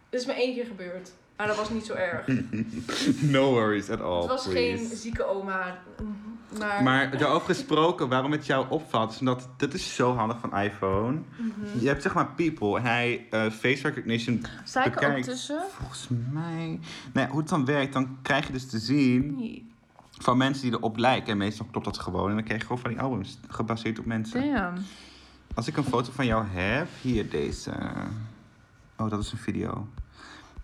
Het is me één keer gebeurd. Maar dat was niet zo erg. No worries at all, Het was Oh, please. geen zieke oma, mm, maar... Maar daarover gesproken, waarom het jou opvalt, is omdat dit is zo handig van iPhone. Mhm. Je hebt zeg maar People en hij eh, face recognition. Sta ik er ook bekijkt. tussen? Volgens mij. Nee, hoe het dan werkt, dan krijg je dus te zien Nee. van mensen die erop lijken. En meestal klopt dat gewoon. En dan krijg je gewoon van die albums gebaseerd op mensen. Damn. Als ik een foto van jou heb, hier deze. Oh, dat is een video.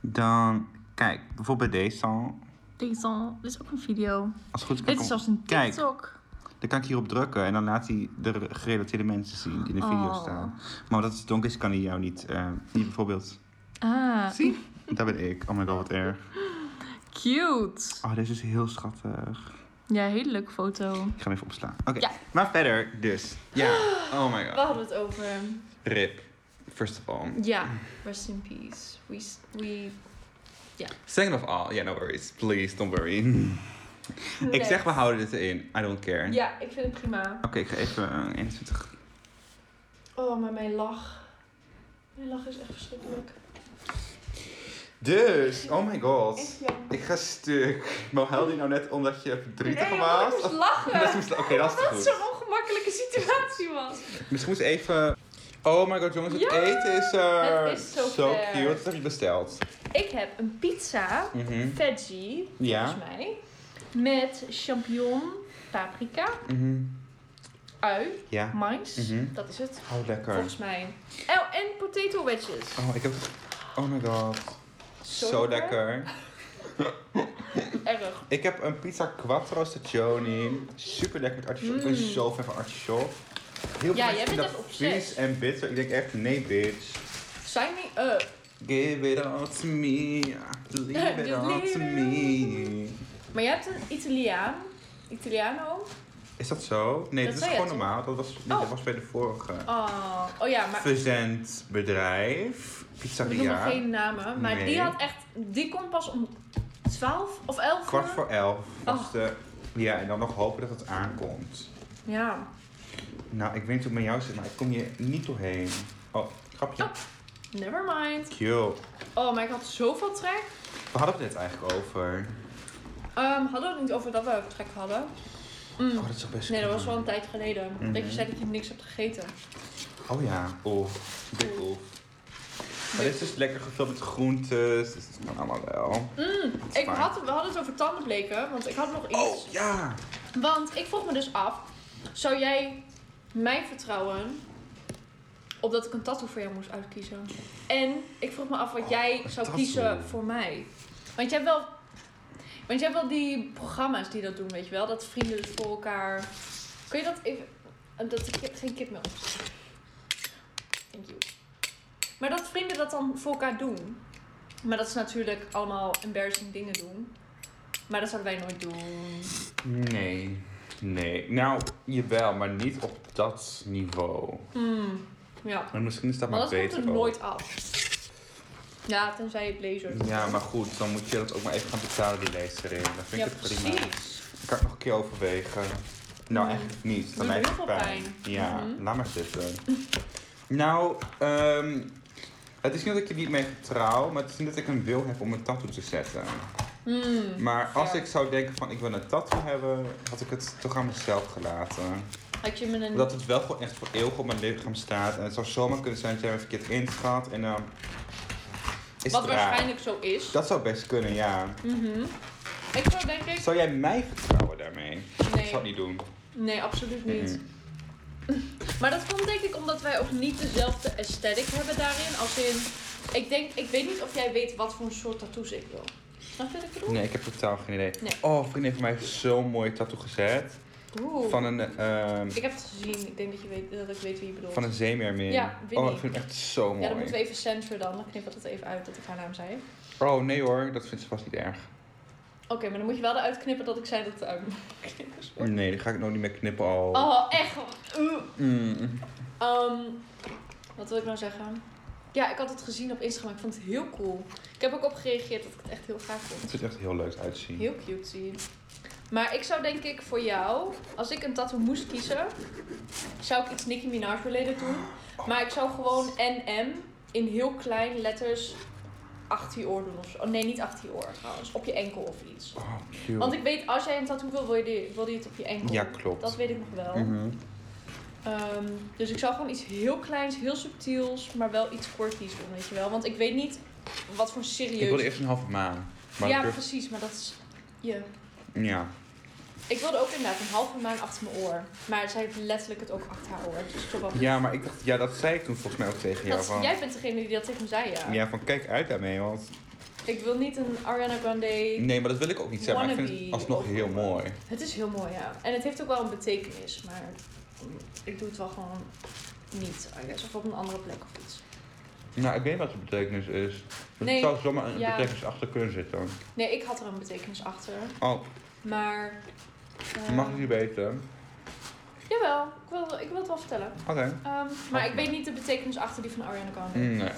Dan, kijk, bijvoorbeeld bij deze. al. Dit is, al, dit is ook een video. Als het goed is, kan dit ik is hem- zelfs een Kijk. TikTok. dan kan ik hierop drukken. En dan laat hij de gerelateerde mensen zien die in de video Oh. staan. Maar omdat het donker is, kan hij jou niet. eh hier bijvoorbeeld. Ah, Zie? Daar ben ik. Oh my god, wat erg. cute. Oh, deze is heel schattig. Ja, hele leuke foto. Ik ga hem even opslaan. Oké, Ja. maar verder dus. Ja, oh my We god. hadden het over... Rip, first of all. Ja, rest in peace. We... s- we Second of all, yeah, no worries. Please, don't worry. Ik Next. zeg, we houden dit erin. I don't care. Ja, ik vind het prima. Oké, ik ga even eh, 21. Oh, maar mijn lach. Mijn lach is echt verschrikkelijk. Dus, oh my god. Echt jammer. Ik ga stuk. Maar huil je nou net omdat je verdrietig Nee, joh, was? ik moest Of- lachen. Dat moest- Oké, dat is Omdat het goed. zo'n ongemakkelijke situatie was. Misschien moet ik even... Oh my god, jongens, het Ja! eten is er. Het is zo ver. cute. Wat heb je besteld? Ik heb een pizza, Mhm. veggie, Ja. volgens mij, met champignon, paprika, Mhm. ui, Ja. mais, Mhm. dat is het, Oh, lekker. volgens mij. Oh, en potato wedges. Oh, ik heb... Oh my god. Zo, Zo lekker. Erg. Ik heb een pizza quattro stagioni. Super lekker met artichok. Ik ben Mm. zo fan van artichok. Heel Ja, mensen jij bent vinden echt dat obsessed. vies en bitter. Ik denk echt, nee bitch. Sign me up. Give it all to me. Leave it Just all leave to it me. Maar jij hebt een Italiaan, Italiano. Is dat zo? Nee, Dat dat, is zei gewoon je normaal. Dat was, dat Oh. was bij de vorige. Oh, oh ja, maar Verzendbedrijf. we noemen Pizzeria. geen namen. Maar Nee. die had echt, die kon pas om 12 of 11 Kwart uur. voor elf was Oh. de... Ja, en dan nog hopen dat het aankomt. Ja. Nou, ik weet niet hoe het met jou zit, maar ik kom hier niet doorheen. Oh, grapje. Oh. Never mind. Cute. Oh, maar ik had zoveel trek. We hadden het net eigenlijk over. Ehm, hadden we het niet over dat we trek hadden? Mm. Oh, dat is toch best Nee, dat was goed. wel een tijd geleden. Mhm. Dat je zei dat je niks hebt gegeten. Oh ja, oef. Dik oef. Maar dit is dus lekker gevuld met groentes. Dus dat kan allemaal wel. is Mm, Ik fijn. had, we hadden het over tandenbleken, want ik had nog iets. Oh, ja! Want ik vroeg me dus af, zou jij mij vertrouwen op dat ik een tattoo voor jou moest uitkiezen? En ik vroeg me af wat Oh, jij een zou tattoo. kiezen voor mij. Want jij hebt wel... Want jij hebt wel die programma's die dat doen, weet je wel? Dat vrienden dus voor elkaar... Kun je dat even... eh, Dat ik geen kip meer op. Thank you. Maar dat vrienden dat dan voor elkaar doen. Maar dat ze natuurlijk allemaal embarrassing dingen doen. Maar dat zouden wij nooit doen. Nee. Nee. Nou, jawel, maar niet op dat niveau. Hmm, ja. Maar misschien is dat Maar maar dat komt beter. er ook. nooit af. Ja, tenzij je blazer. Ja, maar goed, dan moet je dat ook maar even gaan betalen, die lezerin. Dan vind Ja, ik het prima. precies. Ik kan het nog een keer overwegen. Nou, Mm. eigenlijk niet. Doet Dan heeft heel het veel pijn. pijn. Ja, Mhm. laat maar zitten. nou, ehm, het is niet dat ik er niet mee getrouw, maar het is niet dat ik een wil heb om een tattoo te zetten. Mm. Maar als Ja. ik zou denken van ik wil een tattoo hebben, had ik het toch aan mezelf gelaten. Had je me een... Omdat het wel gewoon echt voor eeuwig op mijn lichaam staat. En het zou zomaar kunnen zijn dat jij me verkeerd inschat en dan is Wat het raar. waarschijnlijk zo is. Dat zou best kunnen, ja. Mhm. Ik zou denk ik... Zou jij mij vertrouwen daarmee? Ik zou het Nee, niet doen. nee absoluut niet. Mm. Maar dat komt denk ik omdat wij ook niet dezelfde aesthetic hebben daarin. Als in, ik denk, ik weet niet of jij weet wat voor een soort tattoos ik wil. Snap je wat ik bedoel? Nee, ik heb totaal geen idee. Nee. Oh, een vriendin van mij heeft zo'n mooi tattoo gezet. Oeh. Van een, ehm, Ik heb het gezien. Ik denk dat, je weet, dat ik weet wie je bedoelt. van een zeemeermin. Ja, Winnie. oh, ik vind hem echt zo ja, mooi. dan moeten we even censoren dan. Dan knippen we dat even uit dat ik haar naam zei. Oké, Oh, nee hoor, dat vindt ze vast niet erg. maar dan moet je wel eruit knippen dat ik zei dat het uit moet knippen. sorry. Nee, die ga ik nog niet meer knippen al. Oh, echt. Oeh. Mm. Ehm, wat wil ik nou zeggen? Ja, ik had het gezien op Instagram. Ik vond het heel cool. Ik heb ook op gereageerd dat ik het echt heel graag vond. Het ziet er echt heel leuk uitzien. Heel cute zie. Maar ik zou denk ik voor jou, als ik een tattoo moest kiezen, zou ik iets Nicki Minaj related doen. Maar ik zou gewoon NM in heel klein letters achter je oor doen of zo. Oh, nee, niet achter je oor trouwens. Op je enkel of iets. Oh, cute. Want ik weet, als jij een tattoo wil, wil je, die- wil je het op je enkel. Ja, klopt. Dat weet ik nog wel. Mhm. Ehm, dus ik zou gewoon iets heel kleins, heel subtiels, maar wel iets kortjes doen, weet je wel. Want ik weet niet wat voor serieus... Ik wilde eerst een halve maan. Maar ja, ik durf- precies, maar dat is... je. ja. Ik wilde ook inderdaad een halve maan achter mijn oor. Maar zij heeft letterlijk het ook achter haar oor. Dus toch wel. ja, maar ik dacht, ja, dat zei ik toen volgens mij ook tegen jou. Dat- van, jij bent degene die dat tegen me zei, ja. Ja, van kijk uit daarmee, want... Ik wil niet een Ariana Grande. Nee, maar dat wil ik ook niet zeggen, maar ik vind het Wannabe alsnog ook. heel mooi. Het is heel mooi, ja. En het heeft ook wel een betekenis. Maar ik doe het wel gewoon niet, I guess. Of op een andere plek of iets. Nou, ik weet wat de betekenis is. Het Nee, zou zomaar een ja. betekenis achter kunnen zitten. Nee, ik had er een betekenis achter. Oh, Maar... eh, mag ik die weten? Jawel, ik wil, ik wil het wel vertellen. Oké. Ehm, maar ik maar. weet niet de betekenis achter die van Ariana Grande. Nee.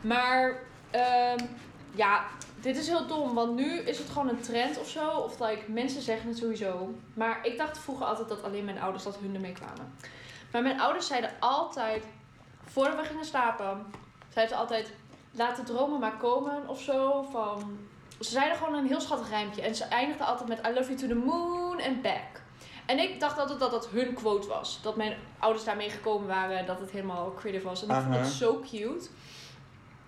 Maar ehm, ja, dit is heel dom, want nu is het gewoon een trend of zo. Of like, mensen zeggen het sowieso. Maar ik dacht vroeger altijd dat alleen mijn ouders dat hun ermee kwamen. Maar mijn ouders zeiden altijd, voordat we gingen slapen, zeiden ze altijd, laat de dromen maar komen of zo. Van, ze zeiden gewoon een heel schattig rijmpje. En ze eindigden altijd met, I love you to the moon and back. En ik dacht altijd dat dat hun quote was. Dat mijn ouders daarmee gekomen waren en dat het helemaal creative was. En ik vond Aha. het zo cute.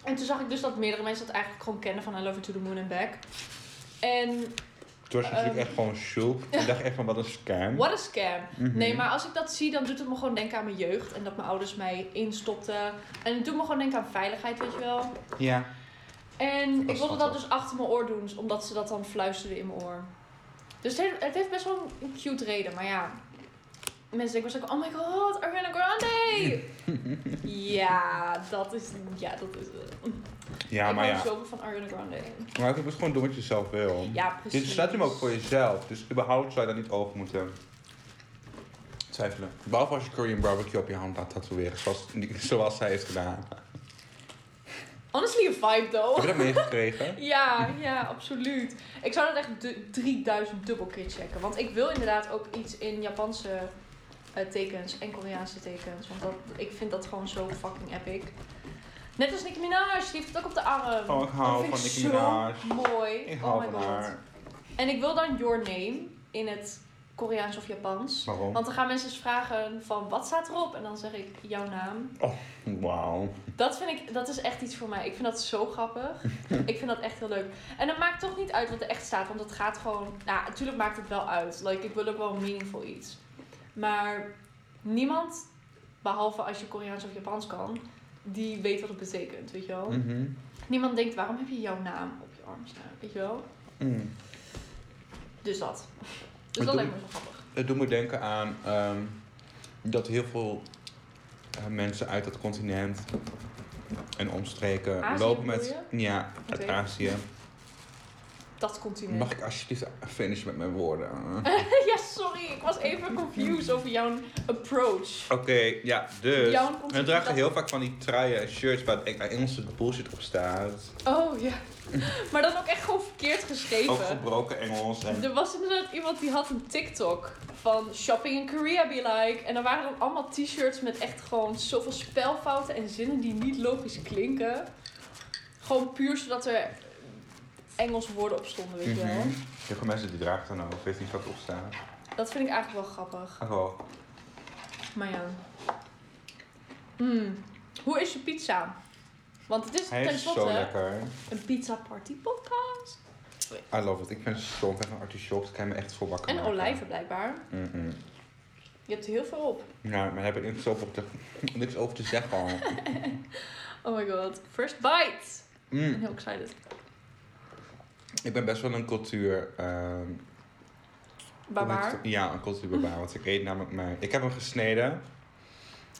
En toen zag ik dus dat meerdere mensen dat eigenlijk gewoon kennen van I love you to the moon and back. En Toen was het Ehm. natuurlijk echt gewoon shook. Ik dacht echt van, wat een scam. what a scam. Mhm. Nee, maar als ik dat zie, dan doet het me gewoon denken aan mijn jeugd. En dat mijn ouders mij instopten. En het doet me gewoon denken aan veiligheid, weet je wel. Ja. En Dat ik is wilde dat schattig. dus achter mijn oor doen, omdat ze dat dan fluisterden in mijn oor. Dus het heeft, het heeft best wel een cute reden, maar ja. Mensen denken waarschijnlijk, oh my god, Ariana Grande! ja, dat is... Ja, dat is... het. Ja, ik maar hou ja. zoveel van Ariana Grande. Maar ik moet gewoon doen wat je zelf wil. Ja, precies. Dit staat hem ook voor jezelf. Dus überhaupt zou je daar niet over moeten twijfelen. Behalve als je Korean barbecue op je hand laat tatoeëren. Zoals, zoals zij heeft gedaan. Honestly, een vibe, though. Heb je dat Oh, meegekregen? Ja, ja, absoluut. Ik zou dat echt du- 3000 dubbel keer checken. Want ik wil inderdaad ook iets in Japanse eh, tekens en Koreaanse tekens. Want dat, ik vind dat gewoon zo fucking epic. Net als Nicki Minaj, die heeft het ook op de arm. Oh, ik hou Dat vind ik van Nicki zo Minaj. mooi. Ik oh hou my van god. haar. En ik wil dan Your Name in het Koreaans of Japans. Waarom? Want dan gaan mensen eens vragen van wat staat erop? En dan zeg ik jouw naam. Wauw. Dat vind ik, dat is echt iets voor mij. Ik vind dat zo grappig. ik vind dat echt heel leuk. En het maakt toch niet uit wat er echt staat, want het gaat gewoon. Nou, natuurlijk maakt het wel uit. Like, ik wil ook wel meaningful iets. Maar niemand, behalve als je Koreaans of Japans kan, die weet wat het betekent, weet je wel? Mhm. Niemand denkt, waarom heb je jouw naam op je arm staan, weet je wel? Mm. Dus dat. Dus dat Maar doe- lijkt me zo grappig. Het doet me denken aan ehm, dat heel veel eh, mensen uit dat continent en omstreken Azië lopen bedoel met. Ja, uit Oké. Azië. dat continent. Mag ik alsjeblieft finish met mijn woorden? ja, sorry, ik was even confused over jouw approach. Oké, ja, dus. Jouw concept We dragen dat- heel vaak van die truien en shirts waar echt Engelse bullshit op staat. Oh ja. Maar dan ook echt gewoon verkeerd geschreven. Ook gebroken Engels. En... Er was inderdaad iemand die had een TikTok van shopping in Korea be like. En dan waren dan allemaal t-shirts met echt gewoon zoveel spelfouten en zinnen die niet logisch klinken. Gewoon puur zodat er Engelse woorden op stonden, weet je wel. Mhm. Heel veel mensen die dragen dan ook, weet niet wat erop staat. Dat vind ik eigenlijk wel grappig. Oh, wel. Maar ja. Mm. Hoe is je pizza? Want het is hij is zo tenslotte lekker. een pizza party podcast. I love it. Ik ben zo fan van artichokes. Ik kan me echt voor wakker En maken. olijven blijkbaar. Mhm. Je hebt er heel veel op. Ja, maar daar heb ik niks over te, niks over te zeggen al. Oh my god. First bite. Ik ben Mm. heel excited. Ik ben best wel een cultuur... ehm, Barbaar. Ja, een cultuurbarbaar. Want ik eet namelijk mijn... Ik heb hem gesneden.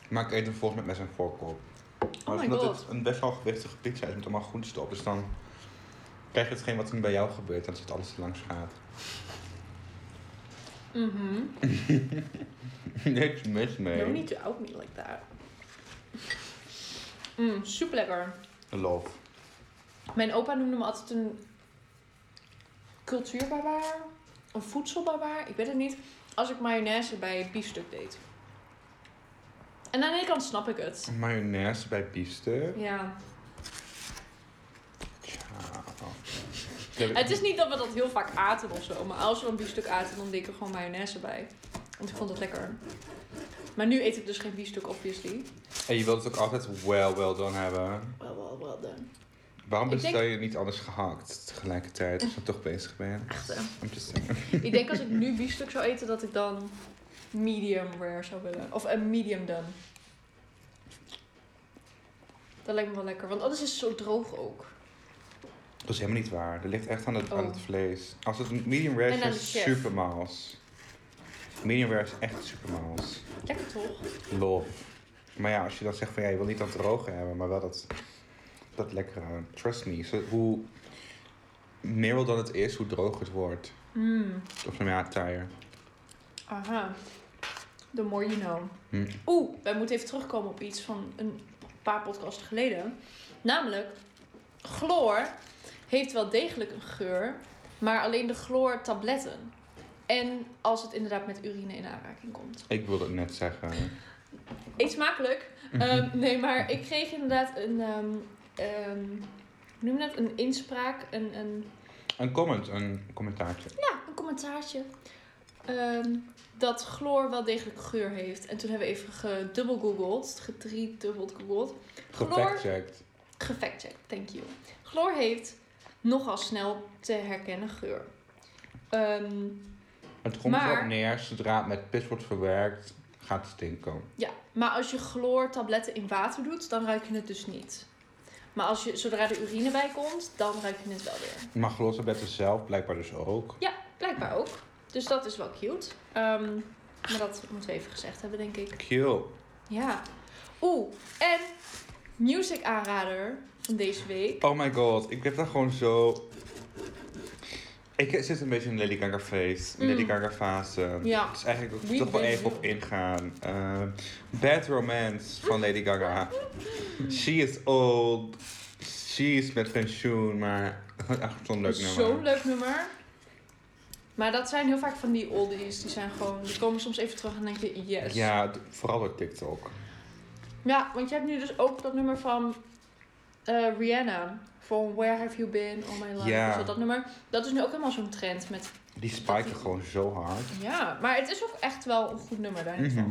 Maar ik eet hem volgens mij met zijn voorkop. Maar Oh my omdat God. het een best wel gewichtige pizza is met allemaal groenten op. Dus dan krijg je hetgeen wat nu bij jou gebeurt. Dat het alles langs gaat. Mhm. Niks mis No mee. need to out me like that. Mm, super lekker. Love. Mijn opa noemde me altijd een cultuurbarbaar. Een voedselbarbaar. Ik weet het niet. Als ik mayonaise bij biefstuk deed. En aan de ene kant snap ik het. Mayonaise bij biefstuk. Ja. Tja. Ja, Het is niet dat we dat heel vaak aten of zo. Maar als we een biefstuk aten, dan deed ik er gewoon mayonaise bij. Want ik vond dat lekker. Maar nu eet ik dus geen biefstuk, obviously. En je wilt het ook altijd wel, wel dan hebben. Wel, wel, wel dan. Waarom Ik denk- bestel je niet alles gehakt tegelijkertijd als je toch bezig bent? Echt, hè? I'm just saying. Ik denk als ik nu biefstuk zou eten, dat ik dan medium rare zou willen. Of een medium done. Dat lijkt me wel lekker, want anders is het zo droog ook. Dat is helemaal niet waar. Dat ligt echt aan het, aan Oh. het vlees. Als het een medium rare En aan is, de is chef. super miles. Medium rare is echt super miles. Lekker toch? Lol. Maar ja, als je dan zegt van ja, je wil niet dat droge hebben, maar wel dat, dat lekkere. Trust me. Zo- hoe meer dan het is, hoe droog het wordt. Mm, Of nou ja, tire. aha. The more you know. Hm. Oeh, wij moeten even terugkomen op iets van een paar podcasten geleden. Namelijk, chloor heeft wel degelijk een geur, maar alleen de chloortabletten. En als het inderdaad met urine in aanraking komt. Ik wilde het net zeggen. Eet smakelijk. Mhm. Ehm, nee, maar ik kreeg inderdaad een. ehm ehm, hoe noem je dat? Een inspraak, een, een, Een comment, een commentaartje. ja, een commentaartje. Ehm, dat chloor wel degelijk geur heeft. En toen hebben we even gedubbel googeld, getriedubbeld googeld. Chloor, Gefactcheckt. gefactcheckt, thank you. Chloor heeft nogal snel te herkennen geur. Ehm, Het komt Maar- erop neer, zodra het met pis wordt verwerkt, gaat het stinken. Ja, maar als je chloortabletten in water doet, dan ruik je het dus niet. Maar als je, zodra de urine bij komt, dan ruik je het wel weer. Maar glossenbetten zelf blijkbaar dus ook. Blijkbaar ook. Dus dat is wel cute. Ehm, maar dat moeten we even gezegd hebben, denk ik. Cute. Ja. Oeh, en music aanrader van deze week. Oh my god, ik heb daar gewoon zo... Ik zit een beetje in Lady Gaga face, Mm. Lady Gaga fase. Ja. Dus eigenlijk wil We ik toch wel been even you. op ingaan. Eh, Bad Romance van Lady Gaga. She is old. She is met pensioen, maar echt zo'n leuk nummer. Zo'n leuk nummer. Maar dat zijn heel vaak van die oldies. Die zijn gewoon, die komen soms even terug en denk je, yes. Ja, d- vooral door TikTok. Ja, want je hebt nu dus ook dat nummer van eh, Rihanna. Van Where Have You Been All My Life. Ja. Is dat, dat nummer. Dat is nu ook helemaal zo'n trend met... Die spiken gewoon zo hard. Ja, maar het is ook echt wel een goed nummer daarin. Mhm.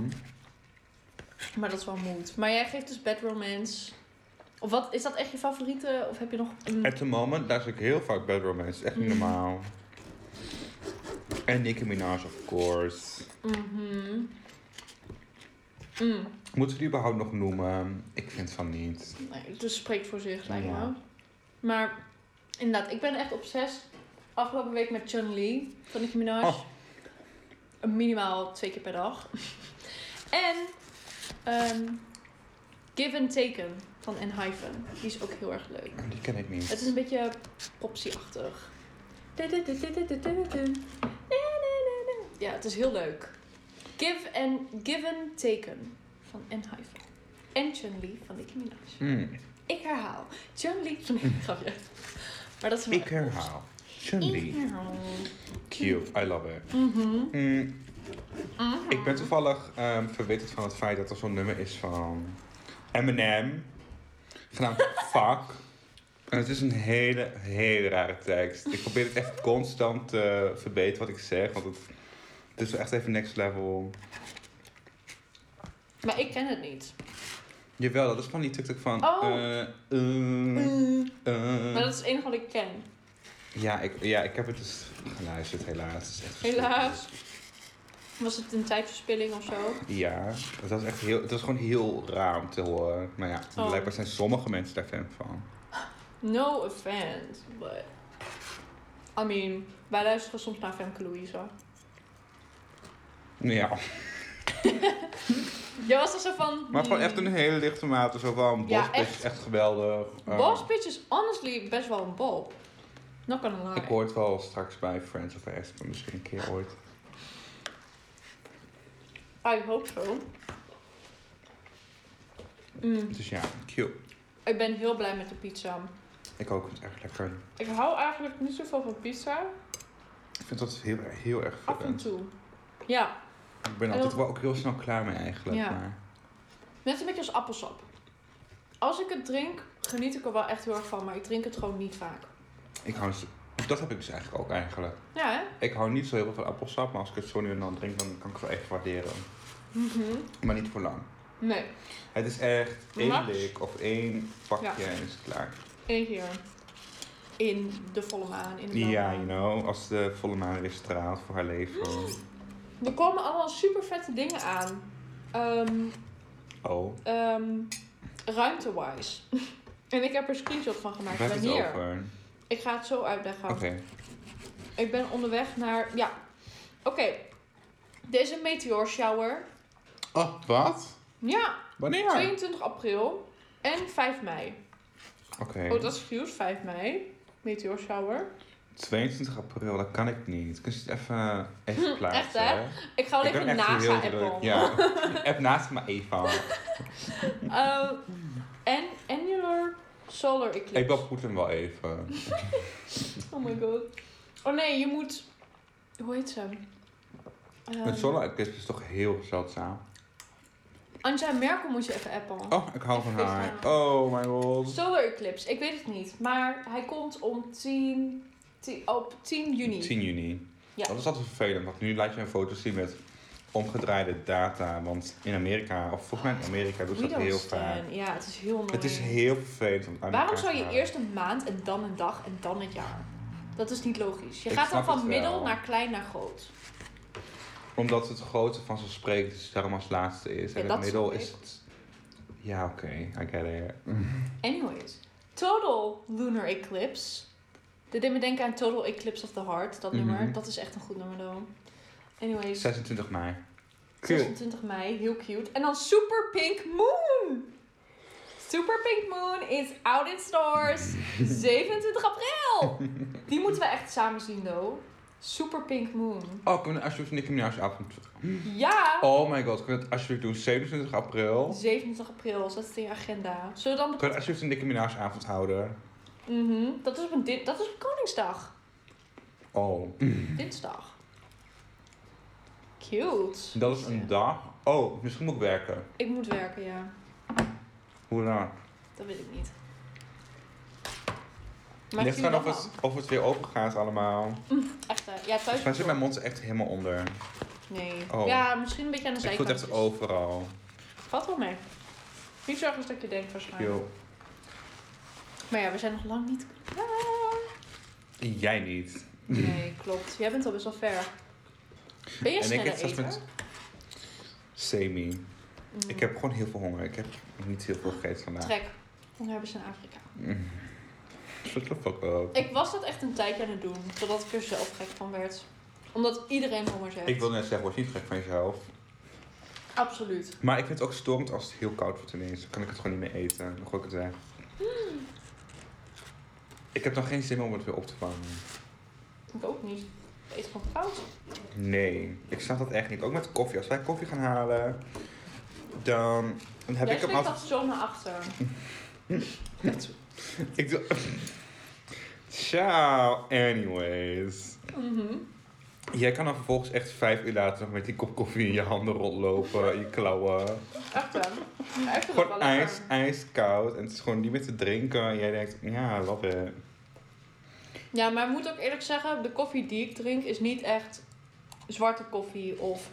Maar dat is wel moed. Maar jij geeft dus Bad Romance... Of wat, is dat echt je favoriete? Of heb je nog een... At the moment luister ik heel vaak Bad Romance. Echt niet Mhm. normaal. En Nicki Minaj, of course. Mhm. Mm. Moeten we die überhaupt nog noemen? Ik vind van niet. Nee, dus spreekt voor zich, lijkt me. Ja. Maar inderdaad, ik ben echt obsessief. Afgelopen week met Chun Li van Nicki Minaj. Oh. Minimaal twee keer per dag. en ehm, Give and Taken van Enhypen. Die is ook heel erg leuk. Die ken ik niet. Het is een beetje popsy-achtig. Ja, het is heel leuk. Give and given taken van Enhypen. En Chun-Li van Nicki Minaj. Hmm. Ik herhaal. Chun-Li van Nicki Minaj. Maar dat is wel- Ik herhaal. Ik Chun-Li. herhaal. Cute, I love it. Mhm. Mm. Mm-hmm. Ik ben toevallig ehm verwittigd van het feit dat er zo'n nummer is van Eminem, genaamd Fuck. En het is een hele, hele rare tekst. Ik probeer het echt constant te verbeteren wat ik zeg, want het, het is wel echt even next level. Maar ik ken het niet. Jawel, dat is van die tuk van... Oh. Mm. eh, eh, eh. Maar dat is het enige wat ik ken. Ja, ik, ja, ik heb het dus geluisterd, helaas. Het is echt Helaas. Was het een tijdverspilling of zo? Ja, het was echt heel, het was gewoon heel raar om te horen. Maar ja, Oh. blijkbaar zijn sommige mensen daar fan van. No offense, but... I mean, wij luisteren soms naar Femke Louise. Ja, Jij was er zo van... maar gewoon hmm, echt een hele lichte mate. Zo van, Ja, Boss Bitch echt. is echt geweldig. Eh, Boss Bitch is honestly best wel een bob. Not gonna lie. Ik hoor het wel straks bij Friends of Aspen misschien een keer ooit. I hope so. Mm, Dus ja, cute. ik ben heel blij met de pizza. Ik ook, het is echt lekker. Ik hou eigenlijk niet zoveel van pizza. Ik vind dat heel, heel erg Af en vervelend. toe. Ja, Ik ben En altijd ook- wel ook heel snel klaar mee eigenlijk. Ja. Maar net een beetje als appelsap. Als ik het drink, geniet ik er wel echt heel erg van. Maar ik drink het gewoon niet vaak. ik hou, dus- dat heb ik dus eigenlijk ook eigenlijk. Ja, hè? Ik hou niet zo heel veel van appelsap, maar als ik het zo nu en dan drink, dan kan ik het wel echt waarderen. Mhm. Maar niet voor lang. Nee, Het is echt één Max. lik of één pakje en is het klaar. één keer. In de volle maan, in de blauwe Ja, maan. you know, als de volle maan weer straalt voor haar Mm. leven. Er komen allemaal super vette dingen aan. Ehm Oh, ehm ruimte-wise. en ik heb er screenshot van waar gemaakt. hebben we Wanneer? het over? Ik ga het zo uitleggen. Oké, Ik ben onderweg naar. Ja. Oké. Deze meteor shower. Oh, wat? Ja, Wanneer? 22 april en 5 mei. Oké, Oh, dat is nieuws. 5 mei. Meteor shower. 22 april, dat kan ik niet. Kun je het even, even plaatsen? Hm, Echt, hè? Oh, Ik ga wel Ik ben even echt heel NASA druk. appen. Ja, app naast me even. Eh, en annular solar eclipse. Ik bel Poetin wel even. Oh my god. Oh nee, je moet. Hoe heet ze? Ehm, Het solar eclipse is dus toch heel zeldzaam. Angela Merkel moet je even appen. Oh, ik hou van Ik wist haar. het. Oh my god. Solar eclipse, ik weet het niet. Maar hij komt om 10, 10 op 10 juni. 10 juni. Ja. Dat is altijd vervelend, want nu laat je een foto zien met omgedraaide data. Want in Amerika, of volgens mij in Amerika, doen ze Oh, We dat don't heel stand. vaak. Ja, het is heel mooi. Het is heel vervelend. want aan Waarom elkaar zou je te eerst een maand en dan een dag en dan het jaar? Dat is niet logisch. Je Ik gaat dan snap het van wel. middel naar klein naar groot. houden. Omdat het grote van zo spreekt, dus daarom als laatste is. Ja, en het dat middel snap is ik. het... Ja, oké. I get it. Anyways, total lunar eclipse. Dit deed me denken aan Total Eclipse of the Heart, dat Mhm. nummer. Dat is echt een goed nummer dan. Anyways, 26 mei. Cool. 26 mei, heel cute. En dan Super Pink Moon. Super Pink Moon is out in stores. 27 april. Die moeten we echt samen zien, though. Super Pink Moon. Oh, kunnen we alsjeblieft Nicki Minaj avond... Ja. Oh my god, kunnen we het alsjeblieft doen? 27 april. 27 april, zet het in je agenda. Zullen we dan... Kunnen we alsjeblieft een Nicki Minaj avond houden? Mhm. dat, is op een di- dat is op Koningsdag. Oh. Dinsdag. Cute. Dat is een dag. Oh, misschien moet ik werken. Ik moet werken, ja. Hoe laat? Dat weet ik niet. Maar Maar ik Ligt vind eraan het of het, of het weer open gaat allemaal. Echt, hè. ja, thuis... Volgens mij zit mijn mond er echt helemaal onder. Nee. Oh. Ja, misschien een beetje aan de Ik voel zijkant. het echt overal. Valt wel mee. Niet zo erg als dat je denkt waarschijnlijk. Yo. Maar ja, we zijn nog lang niet klaar. Jij niet. Nee, klopt. Jij bent al best wel ver. Ben je En ik heb sneller straks eten? met- Semi. Mm. Ik heb gewoon heel veel honger. Ik heb niet heel veel gegeten vandaag. Trek. Honger hebben ze in Afrika. Mm. Shut the fuck up. Ik was dat echt een tijdje aan het doen, totdat ik er zelf gek van werd. Omdat iedereen honger heeft. Ik wil net zeggen, word je niet gek van jezelf. Absoluut. Maar ik vind het ook storend als het heel koud wordt ineens. Dan kan ik het gewoon niet meer eten. Dan gooi ik het weg. Mm. Ik heb dan geen zin meer om het weer op te vangen. Ik ook niet. Ik eet gewoon koud. Nee, ik snap dat echt niet. Ook met koffie. Als wij koffie gaan halen, dan, dan heb Jij ik hem steekt altijd... altijd zo naar achter. Echt. Ik doe... Ciao, anyways. Mhm. Jij kan dan vervolgens echt vijf uur later nog met die kop koffie in je handen rondlopen, in je klauwen. Echt hè? Ja, ik vind het wel Gewoon ijs, lekker. ijskoud en het is gewoon niet meer te drinken. En jij denkt, ja, I love it. Ja, maar ik moet ook eerlijk zeggen, de koffie die ik drink is niet echt zwarte koffie of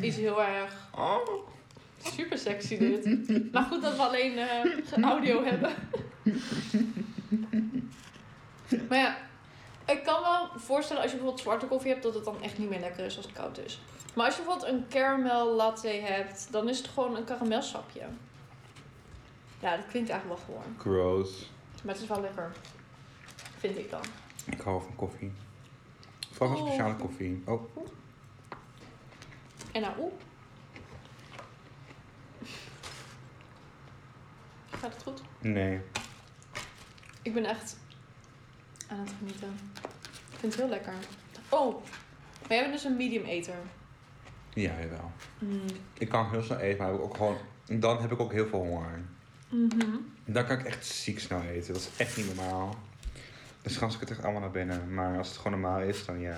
iets heel erg Oh. super sexy dit. Maar goed dat we alleen eh, geen audio hebben. maar ja, ik kan wel voorstellen als je bijvoorbeeld zwarte koffie hebt, dat het dan echt niet meer lekker is als het koud is. Maar als je bijvoorbeeld een caramel latte hebt, dan is het gewoon een karamelsapje. Ja, dat klinkt eigenlijk wel gewoon. Gross. Maar het is wel lekker. Vind ik dan. Ik hou van koffie. Vooral van Oh. speciale koffie. Oh, En nou, oeh. Gaat het goed? nee. Ik ben echt aan het genieten. Ik vind het heel lekker. Oh, wij hebben dus een medium eter. Ja, jawel. Mm. Ik kan heel snel eten, maar heb ik ook gewoon... Dan heb ik ook heel veel honger. Mhm. Dan kan ik echt ziek snel eten. Dat is echt niet normaal. Dus gans ik het echt allemaal naar binnen. Maar als het gewoon normaal is, dan ja.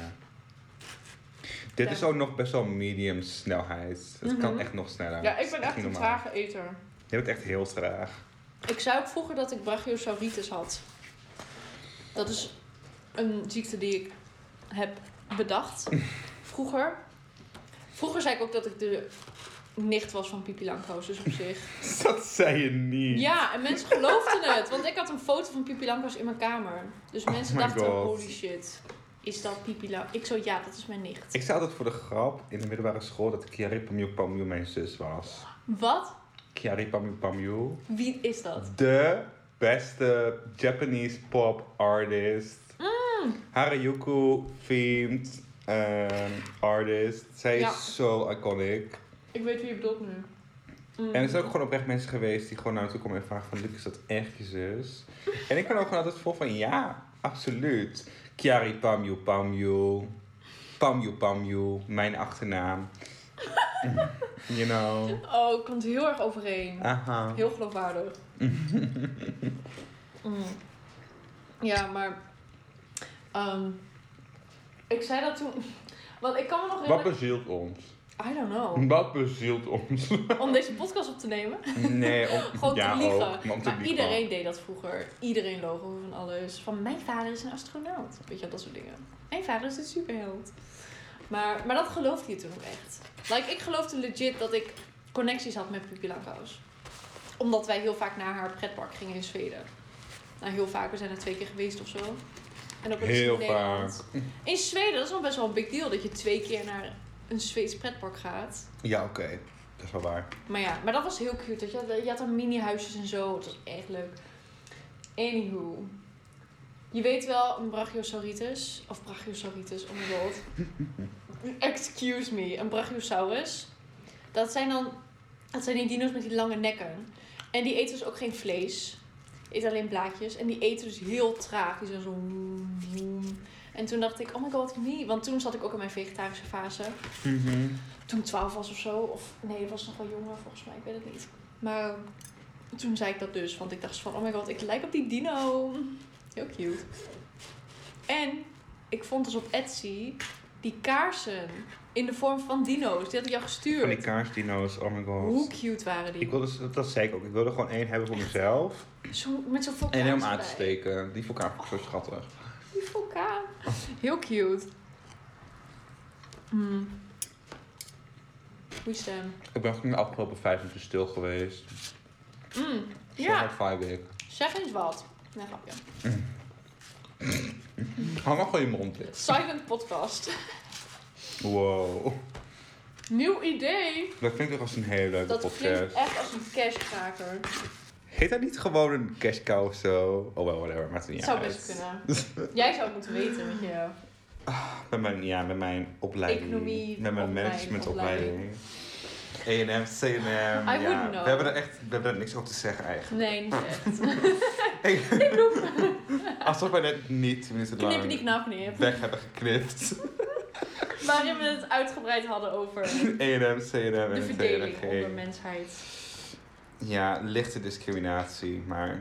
Dit Ja. is ook nog best wel medium snelheid. Het kan Mhm. echt nog sneller. Ja, Het ik is ben echt niet een normaal. trage eter. Je bent echt heel traag. Ik zei ook vroeger dat ik brachiosauritis had. Dat is een ziekte die ik heb bedacht vroeger. Vroeger zei ik ook dat ik de nicht was van Pipi Langkous, dus op zich. Dat zei je niet. Ja, en mensen geloofden het. Want ik had een foto van Pipi Langkous in mijn kamer. Dus Oh mensen my dachten, God. holy shit, is dat Pipi Langkous? Ik zo, ja, dat is mijn nicht. Ik zei altijd voor de grap in de middelbare school dat Kiari Pamyu Pamyu mijn zus was. Wat? Kiari Pamyu Pamyu. Wie is dat? De beste Japanese pop artist. Harajuku themed ehm, artist. Zij Ja. is zo iconic. Ik weet wie je bedoelt nu. Mm. En er zijn ook gewoon oprecht mensen geweest die gewoon naar me toe komen en vragen van... Luc, is dat echt je zus? en ik kan ook gewoon altijd vol van ja, absoluut. Kiari Pamyu Pamyu. Pamyu Pamyu. Mijn achternaam. you know. Oh, het komt heel erg overeen. Ah. Aha. Heel geloofwaardig. Mm. Ja, maar... ehm, ik zei dat toen... Want ik kan me nog Wat herinneren... bezielt ons? I don't know. Wat bezielt ons? Om deze podcast op te nemen. Nee, om, Gewoon ja, te liegen. ook, maar om te liegen. iedereen deed dat vroeger. Iedereen loog over van alles. Van mijn vader is een astronaut. Weet je, wel, dat soort dingen. Mijn vader is een superheld. Maar, maar dat geloofde je toen ook echt. Like, ik geloofde legit dat ik connecties had met Pippi Langkous. Omdat wij heel vaak naar haar pretpark gingen in Zweden. Nou, heel vaak. We zijn er twee keer geweest of zo. En ook wel eens in Heel Nederland. In Zweden, dat is wel best wel een big deal. Dat je twee keer naar een Zweeds pretpark gaat. Ja, oké. Dat is wel waar. Maar ja, maar dat was heel cute. Dat je, had- je had dan mini-huisjes en zo. Het was echt leuk. Anywho. Je weet wel, een brachiosauritis. Of brachiosauritis, oh my god. Excuse me. Een brachiosaurus. Dat zijn dan... Dat zijn die dino's met die lange nekken. En die eten dus ook geen vlees. Eet alleen blaadjes. En die eten dus heel traag. Die zijn zo... En toen dacht ik, oh my god, me. Want toen zat ik ook in mijn vegetarische fase Mhm. toen ik 12 was of zo. Of nee, ik was nog wel jonger volgens mij, ik weet het niet. Maar eh, toen zei ik dat dus, want ik dacht van, oh my god, ik lijk op die dino. Heel cute. En ik vond dus op Etsy die kaarsen in de vorm van dino's. Die had ik jou Van die gestuurd. kaarsdino's, oh my god. Hoe cute waren die? Ik wilde, dus- dat- dat zei ik ook, ik wilde gewoon één hebben voor mezelf. Zo, met zo'n vulkaan. En hem aan te erbij. steken. Die vulkaan vond ik zo schattig. Die vulkaan. Heel cute. Mm. Goeie stem. Ik ben ook in de afgelopen vijf minuten stil geweest. Mm. Zo Ja, hard vibe ik. zeg eens wat. Nee, grapje. Hang maar gewoon je mond in. Silent podcast. Wow. Nieuw idee. Dat klinkt toch als een hele leuke Dat klinkt podcast. echt als een cashkraker. Heet dat niet gewoon een cash cow of zo? Oh wel, whatever, maakt het niet Het zou uit. best kunnen. Jij zou het moeten weten met je Met mijn, ja, met mijn opleiding. Economie, met mijn opleiding, managementopleiding. A&M, C&M. I wouldn't ja. know. We hebben er echt we hebben er niks over te zeggen eigenlijk. Nee, niet echt. Hey, alsof wij net niet twee minuten Knip, niet lang knap, knip. weg hebben geknipt. Waarin we het uitgebreid hadden over A&M, C&M en de het verdeling TRG. onder mensheid. Ja, lichte discriminatie, maar...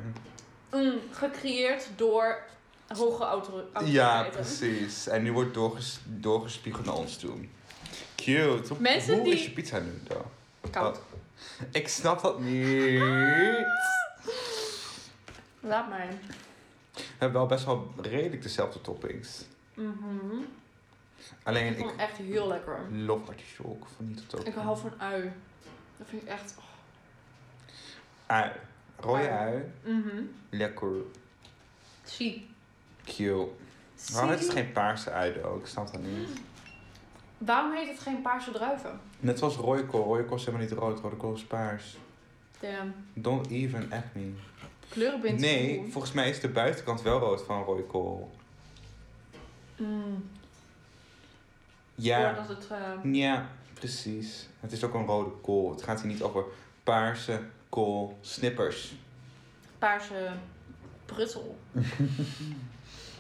Mm, gecreëerd door hoge auto- autoriteiten. Ja, precies. En nu wordt doorges doorgespiegeld naar ons toe. Cute. Hoe- Mensen Hoe die- is je pizza nu, dan? Oh. Koud. Ik snap dat niet. Laat maar. We hebben wel best wel redelijk dezelfde toppings. Mhm. Alleen Ik vond ik het echt heel lekker. love artichok van niet tot ook. Ik hou van ui. Dat vind ik echt... oh. Ui. Eh, Ui. Rode ui. Mhm. Lekker. Zie. Cute. Waarom heeft het geen paarse ui ook? Ik snap dat niet. Waarom heet het geen paarse druiven? Net zoals rode kool. Rode kool is helemaal niet rood. Rode kool is paars. Damn. Don't even at me. Kleurenbind. Nee, volgens mij is de buitenkant wel rood van rode kool. Mm. Ja. Voordat het... eh, Ja, precies. Het is ook een rode kool. Het gaat hier niet over paarse kool snippers. paarse pruttel.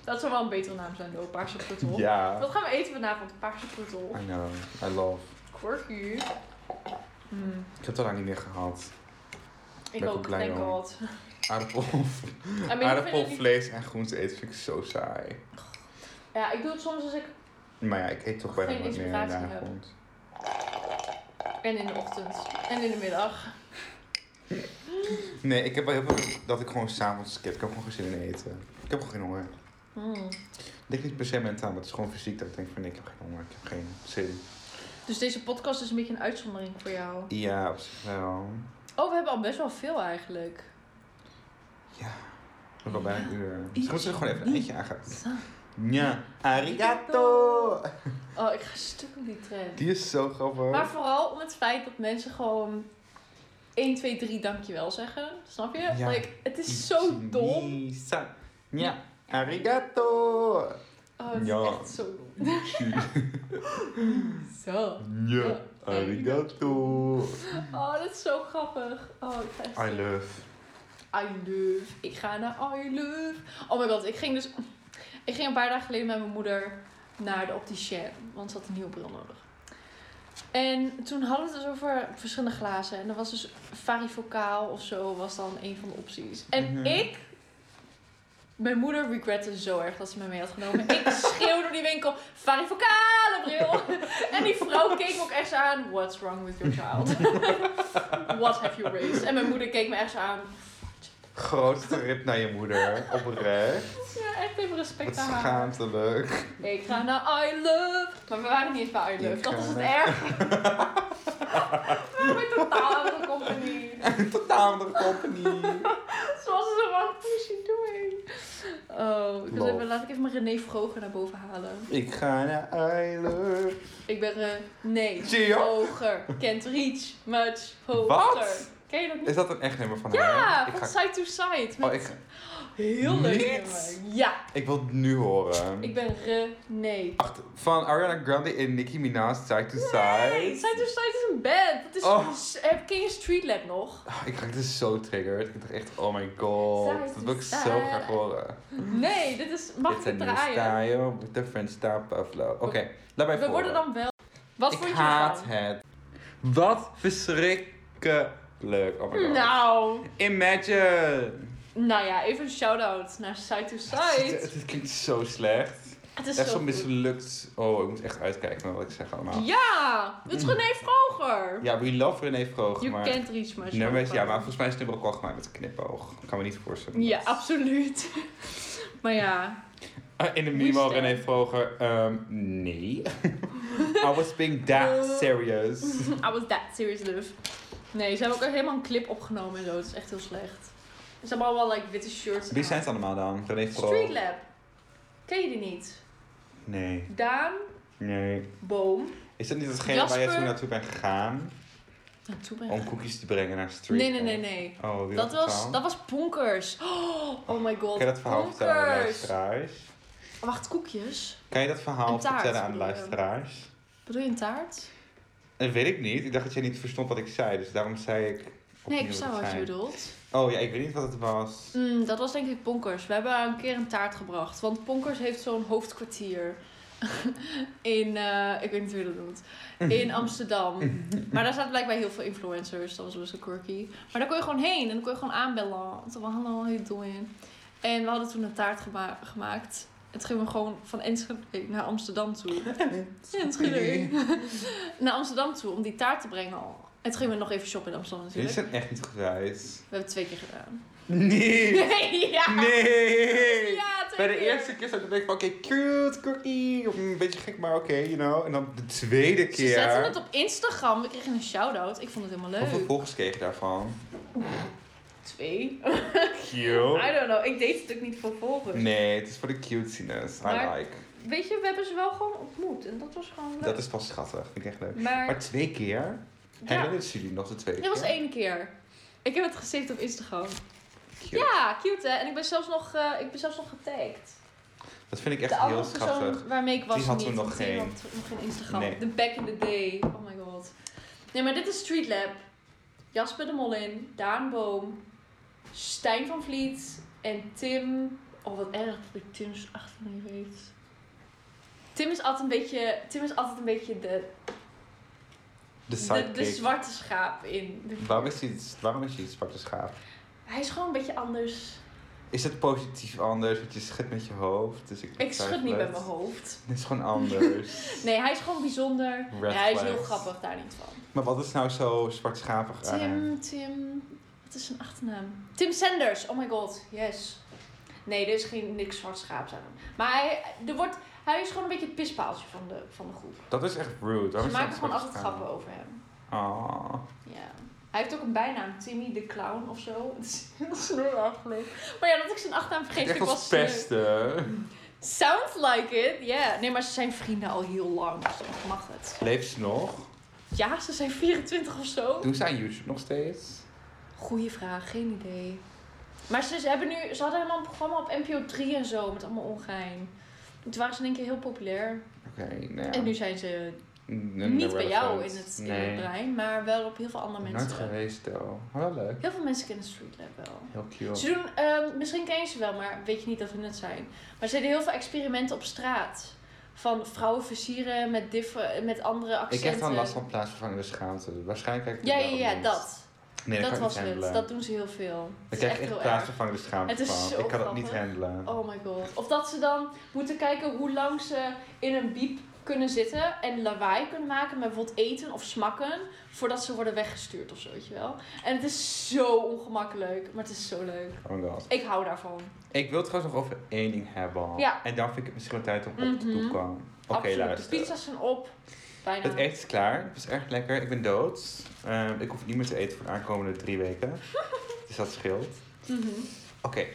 dat zou wel een betere naam zijn, door paarse pruttel. Ja. Wat gaan we eten vanavond? Paarse pruttel. I know. I love. Quirky. Mm. Ik heb het al lang niet meer gehad. Ik Ben ook, ik blij thank om. god. Aardappel, I mean, ik aardappel vind het vlees en groente eten vind ik zo saai. niet- Ja, ik doe het soms als ik... Maar ja, ik eet toch bijna Geen nooit meer in de inspiratie avond. En in de ochtend. En in de middag. Nee, ik heb wel heel veel dat ik gewoon s'avonds skip. Ik heb gewoon geen zin in eten. Ik heb gewoon geen honger. Mm. Het ligt niet per se mentaal, maar het is gewoon fysiek dat ik denk van nee, ik heb geen honger. Ik heb geen zin. Dus deze podcast is een beetje een uitzondering voor jou. Ja, op zich wel. Oh, we hebben al best wel veel eigenlijk. We hebben al bijna een uur. Misschien moeten we er gewoon even een eentje aan gaan. Zo. Ja, arigato! Oh, ik ga stuk op die trend. Die is zo grappig. Maar vooral om het feit dat mensen gewoon 1, 2, 3 dankjewel zeggen. Snap je? Ja. Like, het is zo dom. Ichimisa. Ja, arigato! Oh, het is Ja. echt zo dom. Zo. Ja, arigato! Oh, dat is zo grappig. Oh, ik ga echt... I love. I love. Ik ga naar I love. Oh my god, ik ging dus... Ik ging een paar dagen geleden met mijn moeder naar de opticien. Want ze had een nieuwe bril nodig. En toen hadden we het dus over verschillende glazen. En er was dus varifocaal of zo was dan een van de opties. En Mhm. ik... Mijn moeder regrette zo erg dat ze me mee had genomen. Ik schreeuwde door die winkel, varifocale bril. En die vrouw keek me ook echt zo aan, what's wrong with your child? What have you raised? En mijn moeder keek me echt zo aan, Grootste rip naar je moeder. Oprecht. Ja, Dus, eh, echt even respect Wat aan haar. schaamtelijk. Ik ga naar I Love. Maar we waren niet eens bij I Love. Ik dat ga is het naar- erg. we zijn totaal andere compagnie. Totaal andere company. Zoals ze zo van, what is she doing? Oh, ik wil Love. even, laat ik even mijn René Vroger naar boven halen. Ik ga naar I love. Ik ben René Zie je? Vroger. Kent Reach much hoger. Wat? Ken je dat niet? Is dat een echt nummer van haar? Ja, Ik van ga... side to side. Met Oh, ik, heel leuk Niet? nummer. Ja, ik wil het nu horen. ik ben René. Wacht, van Ariana Grande en Nicki Minaj, Side to Nee, Side. Side to Side is een band. Dat is, Oh. s- eh, ken je Street Lab nog? Ah, Ik raak dus zo triggered. Ik dacht echt, oh my god. Side dat to wil ik zo side. graag horen. Nee, dit is... Mag ik It's a het new draaien? style with the French style buffalo. Oké, laat mij We voor. worden dan wel... Wat Ik vond je haat ervan? het. Wat verschrikkelijk. Oh my god. Nou, Imagine. nou ja, even een shout-out naar Side to Het, Side. het klinkt zo slecht. Het is echt zo zo goed. mislukt. Oh, ik moet echt uitkijken met wat ik zeg allemaal. Ja, het is René Vroger. Ja, we love René Vroeg, You maar... can't reach my nummer is- shout-out. ja, maar volgens mij is het nummer ook al gemaakt met een knipoog. kan me niet voorstellen. Ja, absoluut. maar ja, Eh, In de Moest minimaal er- René Vroger, ehm, nee. I was being that Oh. serious. I was that serious love. Nee, ze hebben ook helemaal een clip opgenomen en zo. Het is echt heel slecht. Ze hebben allemaal like, witte shirts Wie aan. zijn ze allemaal dan? René Street Vroger? Lab. Ken je die niet? Nee, Daan nee. Boom. Is dat niet hetgene waar Jasper? jij toen naartoe bent gegaan? Naartoe ben Om ik- koekjes te brengen naar Street? Nee, nee, nee, nee. Lab? Oh, wie Dat was, dan? dat was Ponkers. Oh, oh my god. Kan je dat verhaal vertellen aan de Ponkers. luisteraars? Wacht, koekjes? Kan je dat verhaal Een taart, vertellen aan de bedoel je? luisteraars? Bedoel je een taart? Dat weet ik niet. Ik dacht dat jij niet verstond wat ik zei, dus daarom zei ik. Nee, opnieuw ik versta het wat je zei. bedoelt. Oh ja, ik weet niet wat het was. Mm, dat was denk ik Ponkers. We hebben haar een keer een taart gebracht. Want Ponkers heeft zo'n hoofdkwartier. in, eh, ik weet niet hoe je dat noemt. In Amsterdam. maar daar zaten blijkbaar heel veel influencers. Dat was best wel quirky. Maar daar kon je gewoon heen. En dan kon je gewoon aanbellen. En Toen van, hallo, how you doing? En we hadden toen een taart gema- gemaakt. En toen gingen we gewoon van Enschede naar Amsterdam toe. Enschede. naar Amsterdam toe om die taart te brengen al. En toen gingen we nog even shoppen in Amsterdam Jullie natuurlijk. zijn echt niet goed wijs. We hebben het twee keer gedaan. Nee! ja! Nee! Ja, twee Bij de keer. eerste keer zat ik denk van oké, cute, cookie. of Een beetje gek, maar oké, you know. En dan de tweede Ze zetten keer. het op Instagram. We kregen een shout-out. Ik vond het helemaal Hoeveel leuk. volgers kreeg je daarvan? Twee. I Cute. don't know. Ik deed het natuurlijk niet voor volgers. Oh. Nee, het is voor de cutesiness. I Maar- like. Weet je, we hebben ze wel gewoon ontmoet. En dat was gewoon leuk. Dat is pas schattig. Vind ik echt leuk. Maar Maar twee keer? ja, Herinneren jullie nog de tweede dit was keer? één keer. Ik heb het gesaved op Instagram. Cute. Ja, cute hè. En ik ben zelfs nog, eh, ik ben zelfs nog getagd. Dat vind ik De echt heel andere schattig. persoon waarmee ik was Die had niet. toen nog want geen. had toen nog geen Instagram. Nee. The back in the day. Oh my god. Nee, maar dit is Street Lab. Jasper de Mollin, Daan Boom, Stijn van Vliet en Tim. Oh, wat erg dat ik Tim's achternaam niet weet. Tim is altijd een beetje, Tim is altijd een beetje de, De de, sidekick. de zwarte schaap in. de- Waarom is hij waarom is hij het zwarte schaap? Hij is gewoon een beetje anders. Is het positief anders? Want je schudt met je hoofd. Dus ik, Ik schud niet twijfel met het. mijn hoofd. Het is gewoon anders. Nee, hij is gewoon bijzonder. Red Nee, hij is heel flags. grappig, daar niet van. Maar wat is nou zo zwartschapig aan hem? Tim, Tim. Wat is zijn achternaam? Tim Sanders. Oh my god, yes. Nee, er is geen niks zwart schaap aan hem. Maar hij, er wordt, hij is gewoon een beetje het pispaaltje van de, van de groep. Dat is echt rude. Ze Waarom is hij maken gewoon zwarte altijd schaap? grappen over hem. Ah. Ja. Hij heeft ook een bijnaam, Timmy de Clown of zo. Het is heel snorachtig. Maar ja, dat ik zijn achternaam vergeet, Echt vind ik wel als sneu. pesten. Sounds like it, ja. Nee, maar ze zijn vrienden al heel lang, dus dan mag het. Leeft ze nog? Ja, ze zijn 24 of zo. Doen ze aan YouTube nog steeds? Goeie vraag, geen idee. Maar ze, ze hebben nu, ze hadden helemaal een programma op NPO 3 en zo met allemaal ongein. Toen waren ze in één keer heel populair. Oké, nou ja. En nu zijn ze N- niet bij jou in relevant. het, in het nee. brein, maar wel op heel veel andere Nooit mensen. geweest, though. Maar wel leuk. Heel veel mensen kennen Street Lab wel. Heel cute. Ze doen, ehm, misschien ken je ze wel, maar weet je niet dat hun het zijn. Maar ze deden heel veel experimenten op straat. Van vrouwen versieren met, differ- met andere accenten. Ik heb dan last van plaatsvervangende schaamte. Waarschijnlijk heb ik Ja, ja, daarom ja, niet. dat. Nee, dat, dat kan ik was niet het. handelen. Dat doen ze heel veel. ik Het is krijg echt heel erg. plaatsvervangende schaamte Het is van. zo Ik kan dat niet grappig. handelen. Oh my god. Of dat ze dan moeten kijken hoe lang ze in een biep kunnen zitten en lawaai kunnen maken met bijvoorbeeld eten of smakken voordat ze worden weggestuurd of zo, weet je wel. En het is zo ongemakkelijk, maar het is zo leuk. Oh my god. Ik hou daarvan. Ik wil het trouwens nog over één ding hebben. Ja. En dan vind ik het misschien wel tijd om op te Mhm. doen komen. Oké, Absoluut. luister. De pizza's zijn op. Bijna. Het eten is klaar. Het was erg lekker. Ik ben dood. Ehm, ik hoef niet meer te eten voor de aankomende drie weken. dus dat scheelt. Mhm. Oké.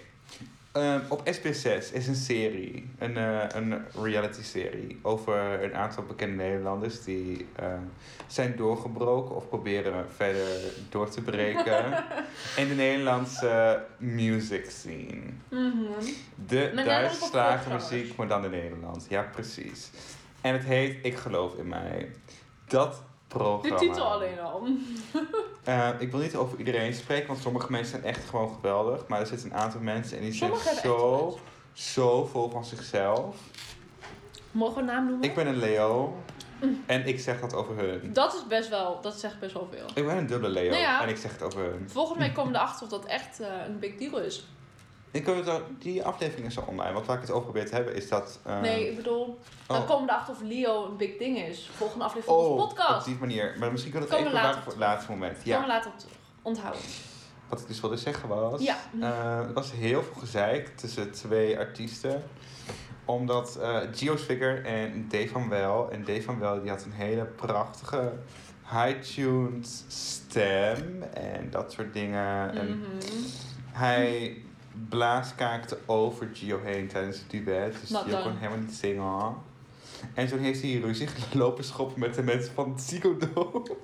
Ehm, op SBS6 is een serie, een, eh, een reality-serie, over een aantal bekende Nederlanders die eh, zijn doorgebroken of proberen verder door te breken in de Nederlandse music scene. Mhm. De Met name Duitse op popzangers. slagermuziek, maar dan in Nederland. Ja, precies. En het heet Ik geloof in mij. Dat De programma. titel alleen al. Eh, ik wil niet over iedereen spreken, want sommige mensen zijn echt gewoon geweldig. Maar er zitten een aantal mensen en die zijn Sommigen hebben echt zo, talent. zo vol van zichzelf. Mogen we een naam noemen? Ik ben een Leo en ik zeg dat over hun. Dat is best wel, dat zegt best wel veel. Ik ben een dubbele Leo Nou ja. en ik zeg het over hun. Volgens mij komen we erachter of dat echt eh, een big deal is. Ik kan het ook- die aflevering is al online, want waar ik het over probeer te hebben is dat... eh, Nee, ik bedoel, oh. dan komen we erachter of Leo een big ding is. Volgende aflevering van onze oh, op podcast. die manier. Maar misschien kan het Komen even we later later voor het op laatste moment. Ja. Komen we later op terug. Onthouden. Wat ik dus wilde zeggen was... Ja. eh, er was heel veel gezeik tussen twee artiesten. Omdat eh Gio Swigger en Dave van Wel... En Dave van Wel die had een hele prachtige high-tuned stem. En dat soort dingen. En Mhm. hij blaaskaakte over Gio heen tijdens het duet. Dus Not Gio kon done. helemaal niet zingen. En toen heeft hij ruzie lopen schoppen met de mensen van Ziggo Dome.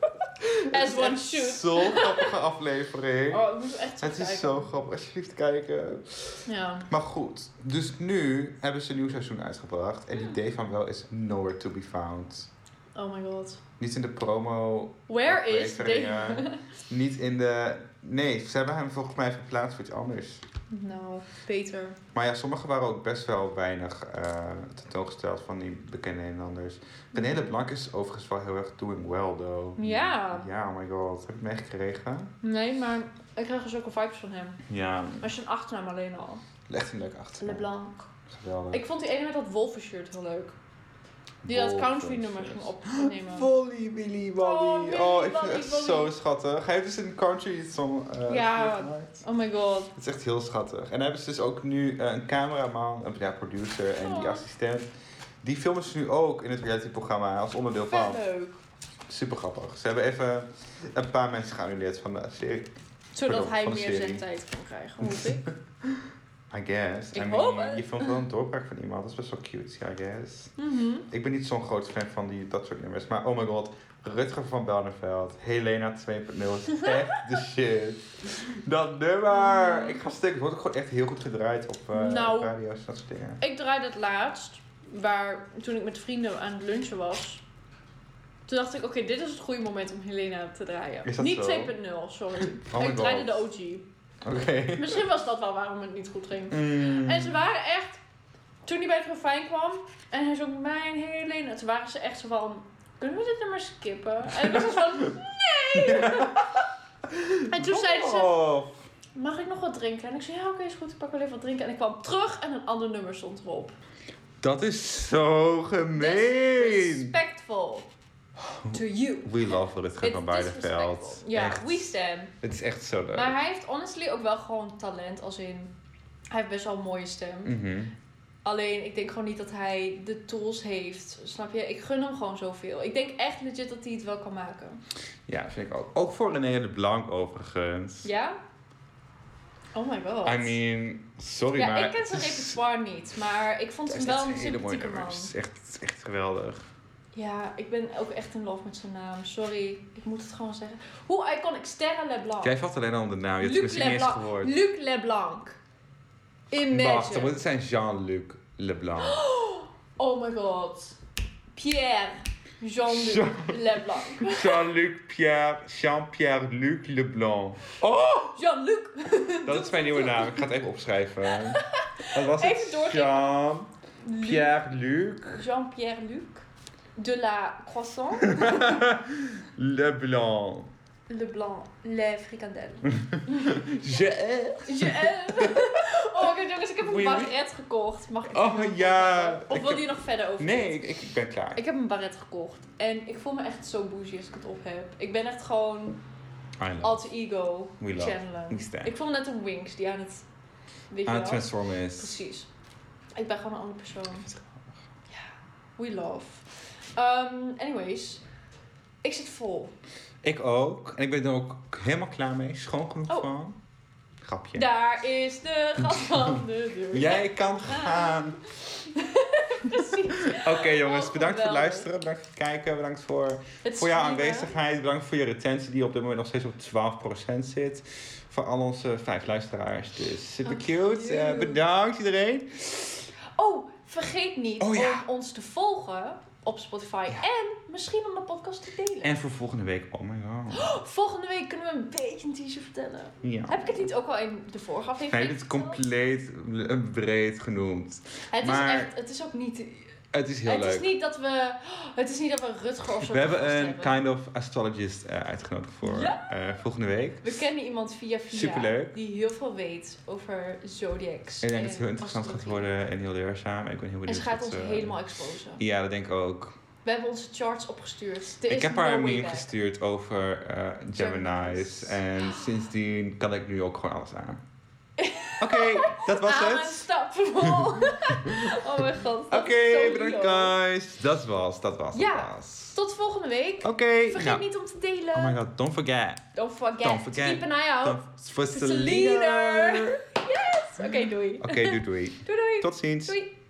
Het is one echt should. Zo'n grappige aflevering. Oh, ik moet echt Het is kijken. zo grappig, alsjeblieft kijken. Ja. Maar goed, dus nu hebben ze een nieuw seizoen uitgebracht. En die Hmm. Dave van Wel is nowhere to be found. Oh my god. Niet in de promo Where is Afleveringen. Damon? Niet in de. Nee, ze hebben hem volgens mij verplaatst voor iets anders. nou, beter. Maar ja, sommige waren ook best wel weinig eh, tentoongesteld van die bekende Nederlanders. Penele Blank is overigens wel heel erg doing well, though. Ja. Ja, oh my god. Heb je het meegekregen? Nee, maar ik krijg er zulke vibes van hem. Ja. Maar zijn achternaam alleen al. Echt een leuk achter. LeBlanc. Geweldig. Ik vond die ene met dat wolfenshirt heel leuk. Die dat country nummer ging opnemen. Volley, Willy Oh, Wally. Willy Oh, ik vind Wally, het echt Wally. zo schattig. Hij heeft dus een country song eh, Ja. gemaakt. Oh my god. Het is echt heel schattig. En dan hebben ze dus ook nu eh, een cameraman, een ja, producer en die Oh. assistent. Die filmen ze nu ook in het realityprogramma als onderdeel van. Vet leuk. Super grappig. Ze hebben even een paar mensen geannuleerd van de serie. Zodat Pardon, hij van de meer serie. zendtijd kan krijgen, hoop ik. I guess. Ik hoop het. Je filmt wel een doorbraak van iemand. Dat is best wel cute, ja, I guess. Mhm. Ik ben niet zo'n groot fan van die, dat soort nummers. Maar oh my god, Rutger van Belneveld, Helena 2.0 is echt de shit. Dat nummer! Ik ga stuk. Het wordt ook gewoon echt heel goed gedraaid op eh Nou. radio's en dat soort dingen. Ik draaide het laatst, waar, toen ik met vrienden aan het lunchen was. Toen dacht ik, oké, dit is het goede moment om Helena te draaien. Is dat niet zo? 2.0, sorry. Oh my ik draaide de God. OG. Oké. Misschien was dat wel waarom het niet goed ging. Mm. En ze waren echt, toen hij bij het refijn kwam en hij zong mijn Helena, toen waren ze echt zo van, kunnen we dit nummer skippen? En ik was dus van, nee! en toen zeiden ze, Oh, mag ik nog wat drinken? En ik zei, ja oké, is goed, ik pak wel even wat drinken. En ik kwam terug en een ander nummer stond erop. dat is zo gemeen. Respectful to you. We love Rutger It's van disrespectful. Beideveld. Ja, Echt. Eh. we stand. Het is echt zo leuk. Maar hij heeft honestly ook wel gewoon talent, als in... Hij heeft best wel een mooie stem. Mhm. Alleen, ik denk gewoon niet dat hij de tools heeft. Snap je? Ik gun hem gewoon zoveel. Ik denk echt legit dat hij het wel kan maken. Ja, vind ik ook. Ook voor René de Blanc overigens. Ja? Oh my god. I mean, sorry ja, maar... ik ken zijn het is- repertoire niet. Maar ik vond het hem is wel echt een hele mooie sympathieke man. Oh. nummers. Het is echt, het is echt geweldig. Ja, ik ben ook echt in love met zijn naam. Sorry, ik moet het gewoon zeggen. Hoe iconic Sterre Leblanc. Jij valt alleen al om de naam. Nou, Je hebt het Luc misschien niet Leblanc. eens gehoord. Luc Leblanc. Wacht, dan moet Imagine. het zijn Jean-Luc Leblanc. Oh my god. Pierre. Jean-Luc Jean- Leblanc. Jean-Luc Pierre, Jean-Pierre Luc Leblanc. Oh! Jean-Luc. Dat is mijn nieuwe naam. Ik ga het even opschrijven. Wat was Even het? doorgeven. Jean, Pierre, Luc, Jean-Pierre Luc. De la croissant. Leblanc. Leblanc. Les frikandel. Hm. Je... Je oh my god jongens, ik heb een Oei, oei. barret gekocht. Mag ik Oh, het ja. vertellen? Of Ik wil heb- je nog verder over? Nee, ik, ik ben klaar. Ik heb een barret gekocht. En ik voel me echt zo bougie als ik het op heb. Ik ben echt gewoon I love. alter ego We love. channelen. We stand. Ik voel me net een Winx die aan het... Weet je Aan het wel? transformen is. Precies. Ik ben gewoon een andere persoon. Ja, we love. Ehm, anyways, ik zit vol. Ik ook. En ik ben er ook helemaal klaar mee. Schoon genoeg Oh. van. Grapje. Daar is de gast van de deur. Jij kan gaan. Precies. Oké jongens, Oh, bedankt voor het geweldig. luisteren. Bedankt voor het kijken. Bedankt voor Het voor jouw is prima. aanwezigheid. Bedankt voor je retentie die op dit moment nog steeds op 12% zit. Voor al onze vijf luisteraars. Dus super Oh, cute. cute. Eh, bedankt iedereen. Oh, vergeet niet Oh, ja. om ons te volgen op Spotify. Ja. En misschien om de podcast te delen. En voor volgende week. Oh my god. Volgende week kunnen we een beetje een teaser vertellen. Ja. Heb ik het niet ook al in de vorige Hij aflevering heeft het verteld? compleet eh, breed genoemd. Het maar- is echt, het is ook niet... Het is heel het leuk. is niet dat we... Het is niet dat we Rutger of zo We te hebben gast een kind of astrologist eh, uitgenodigd voor Ja. eh, volgende week. We kennen iemand via via Superleuk. die heel veel weet over zodiacs. Ik denk dat het heel interessant gaat astrologie. worden en heel leerzaam. Ik ben heel benieuwd. En ze gaat wat ons ze- helemaal exposen. Ja, dat denk ik ook. We hebben onze charts opgestuurd. Er ik is heb haar no een way meme back. gestuurd over eh, Gemini's. Gemini's. En sindsdien kan ik nu ook gewoon alles aan. Oké, dat was Aan Ah, een het. stap omhoog. oh mijn god. Oké, dat is zo bedankt eh. lief. guys. Dat was, dat was, Ja. dat was. Tot volgende week. Oké, Vergeet nou. niet eh, om te delen. Oh my god, don't forget. Don't forget. Don't forget. Keep an eye out. Don't- For oh, It's a Selena. leader. Yes. Oké, doei. Oké, doei doei. Doei doei. Tot ziens. Doei.